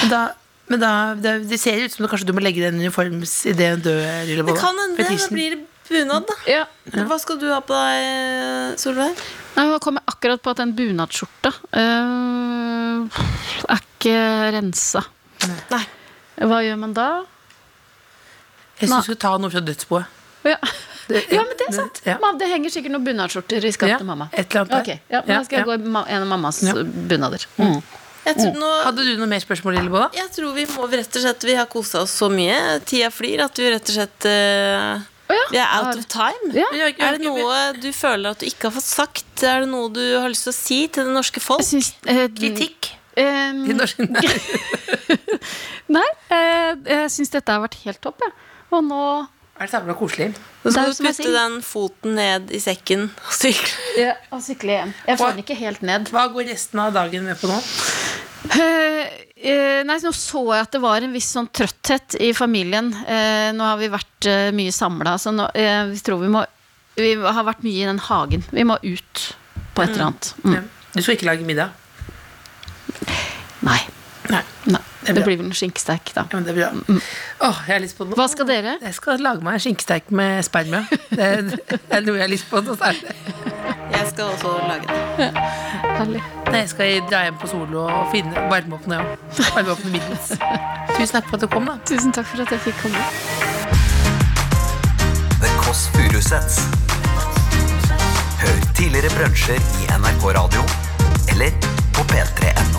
S3: Men da, men da det, det ser ut som du kanskje du må legge den uniformsideen død,
S4: det
S3: Lillebolla.
S4: kan hende. Da
S3: Fetisjen.
S4: blir det bunad, da.
S5: Ja.
S4: Hva skal du ha på deg, Solveig?
S5: Nei, Nå kom jeg akkurat på at den bunadsskjorta eh, er ikke rensa.
S4: Nei.
S5: Hva gjør man da?
S3: Jeg syns du skulle ta noe fra dødsboet.
S5: Ja,
S3: Det-
S5: ja men det er sant!
S3: Ja.
S5: Mam- Det henger sikkert noen bunadsskjorter i skapet
S3: Ja,
S5: til mamma.
S3: et eller annet der.
S5: Ok, ja, men
S3: Ja,
S5: Da skal jeg
S3: ja.
S5: gå i ma- en av mammas eh,
S3: Ja.
S5: bunader. Mm.
S4: Jeg tror, nå,
S3: Hadde du noe mer spørsmål, Lillebolla?
S4: jeg tror vi må rett og slett Vi har kosa oss så mye. Tida flyr at vi rett og slett eh,
S5: Å ja.
S4: Vi er out of time.
S5: Ja.
S4: Er det noe du føler at du ikke har fått sagt? Er det noe du har lyst til å si til det norske folk?
S5: Jeg syns eh,
S3: Kritikk?
S5: eh,
S3: I norsk- Nei.
S5: Nei, eh, jeg syns dette har vært helt topp, jeg. Og nå
S3: Er det samla koselig?
S4: Nå
S5: Det er
S4: skal du
S5: som jeg
S4: putte
S5: sier.
S4: den foten ned i sekken og sykle.
S5: ja, sykle hjem. Jeg får den ikke helt ned.
S3: Hva går resten av dagen med på nå?
S5: Eh, eh, nei, nå så jeg at det var en viss sånn trøtthet i familien. Eh, nå har vi vært eh, mye samla, så nå, eh, vi tror vi må Vi har vært mye i den hagen. Vi må ut på et eller annet. Mm.
S3: Du skal ikke lage middag?
S5: Nei.
S3: Nei.
S5: nei.
S3: er
S5: Det,
S3: bra.
S5: blir vel en skinkesteik, da.
S3: Ja, men det blir bra. Åh, jeg har lyst på noe.
S5: Hva skal dere?
S3: Jeg skal lage meg en skinkesteik med sperma. Det er det er noe jeg har lyst på. Noe særlig.
S4: Jeg skal også lage det.
S5: Herlig.
S3: Nei, jeg skal dra hjem på Solo og finne varme opp noe. Varme opp noe middels. Tusen takk for at du kom, da.
S5: Tusen takk for at jeg fikk komme.
S2: The Kåss Furuseths. Hør tidligere brunsjer i NRK Radio eller på P3M.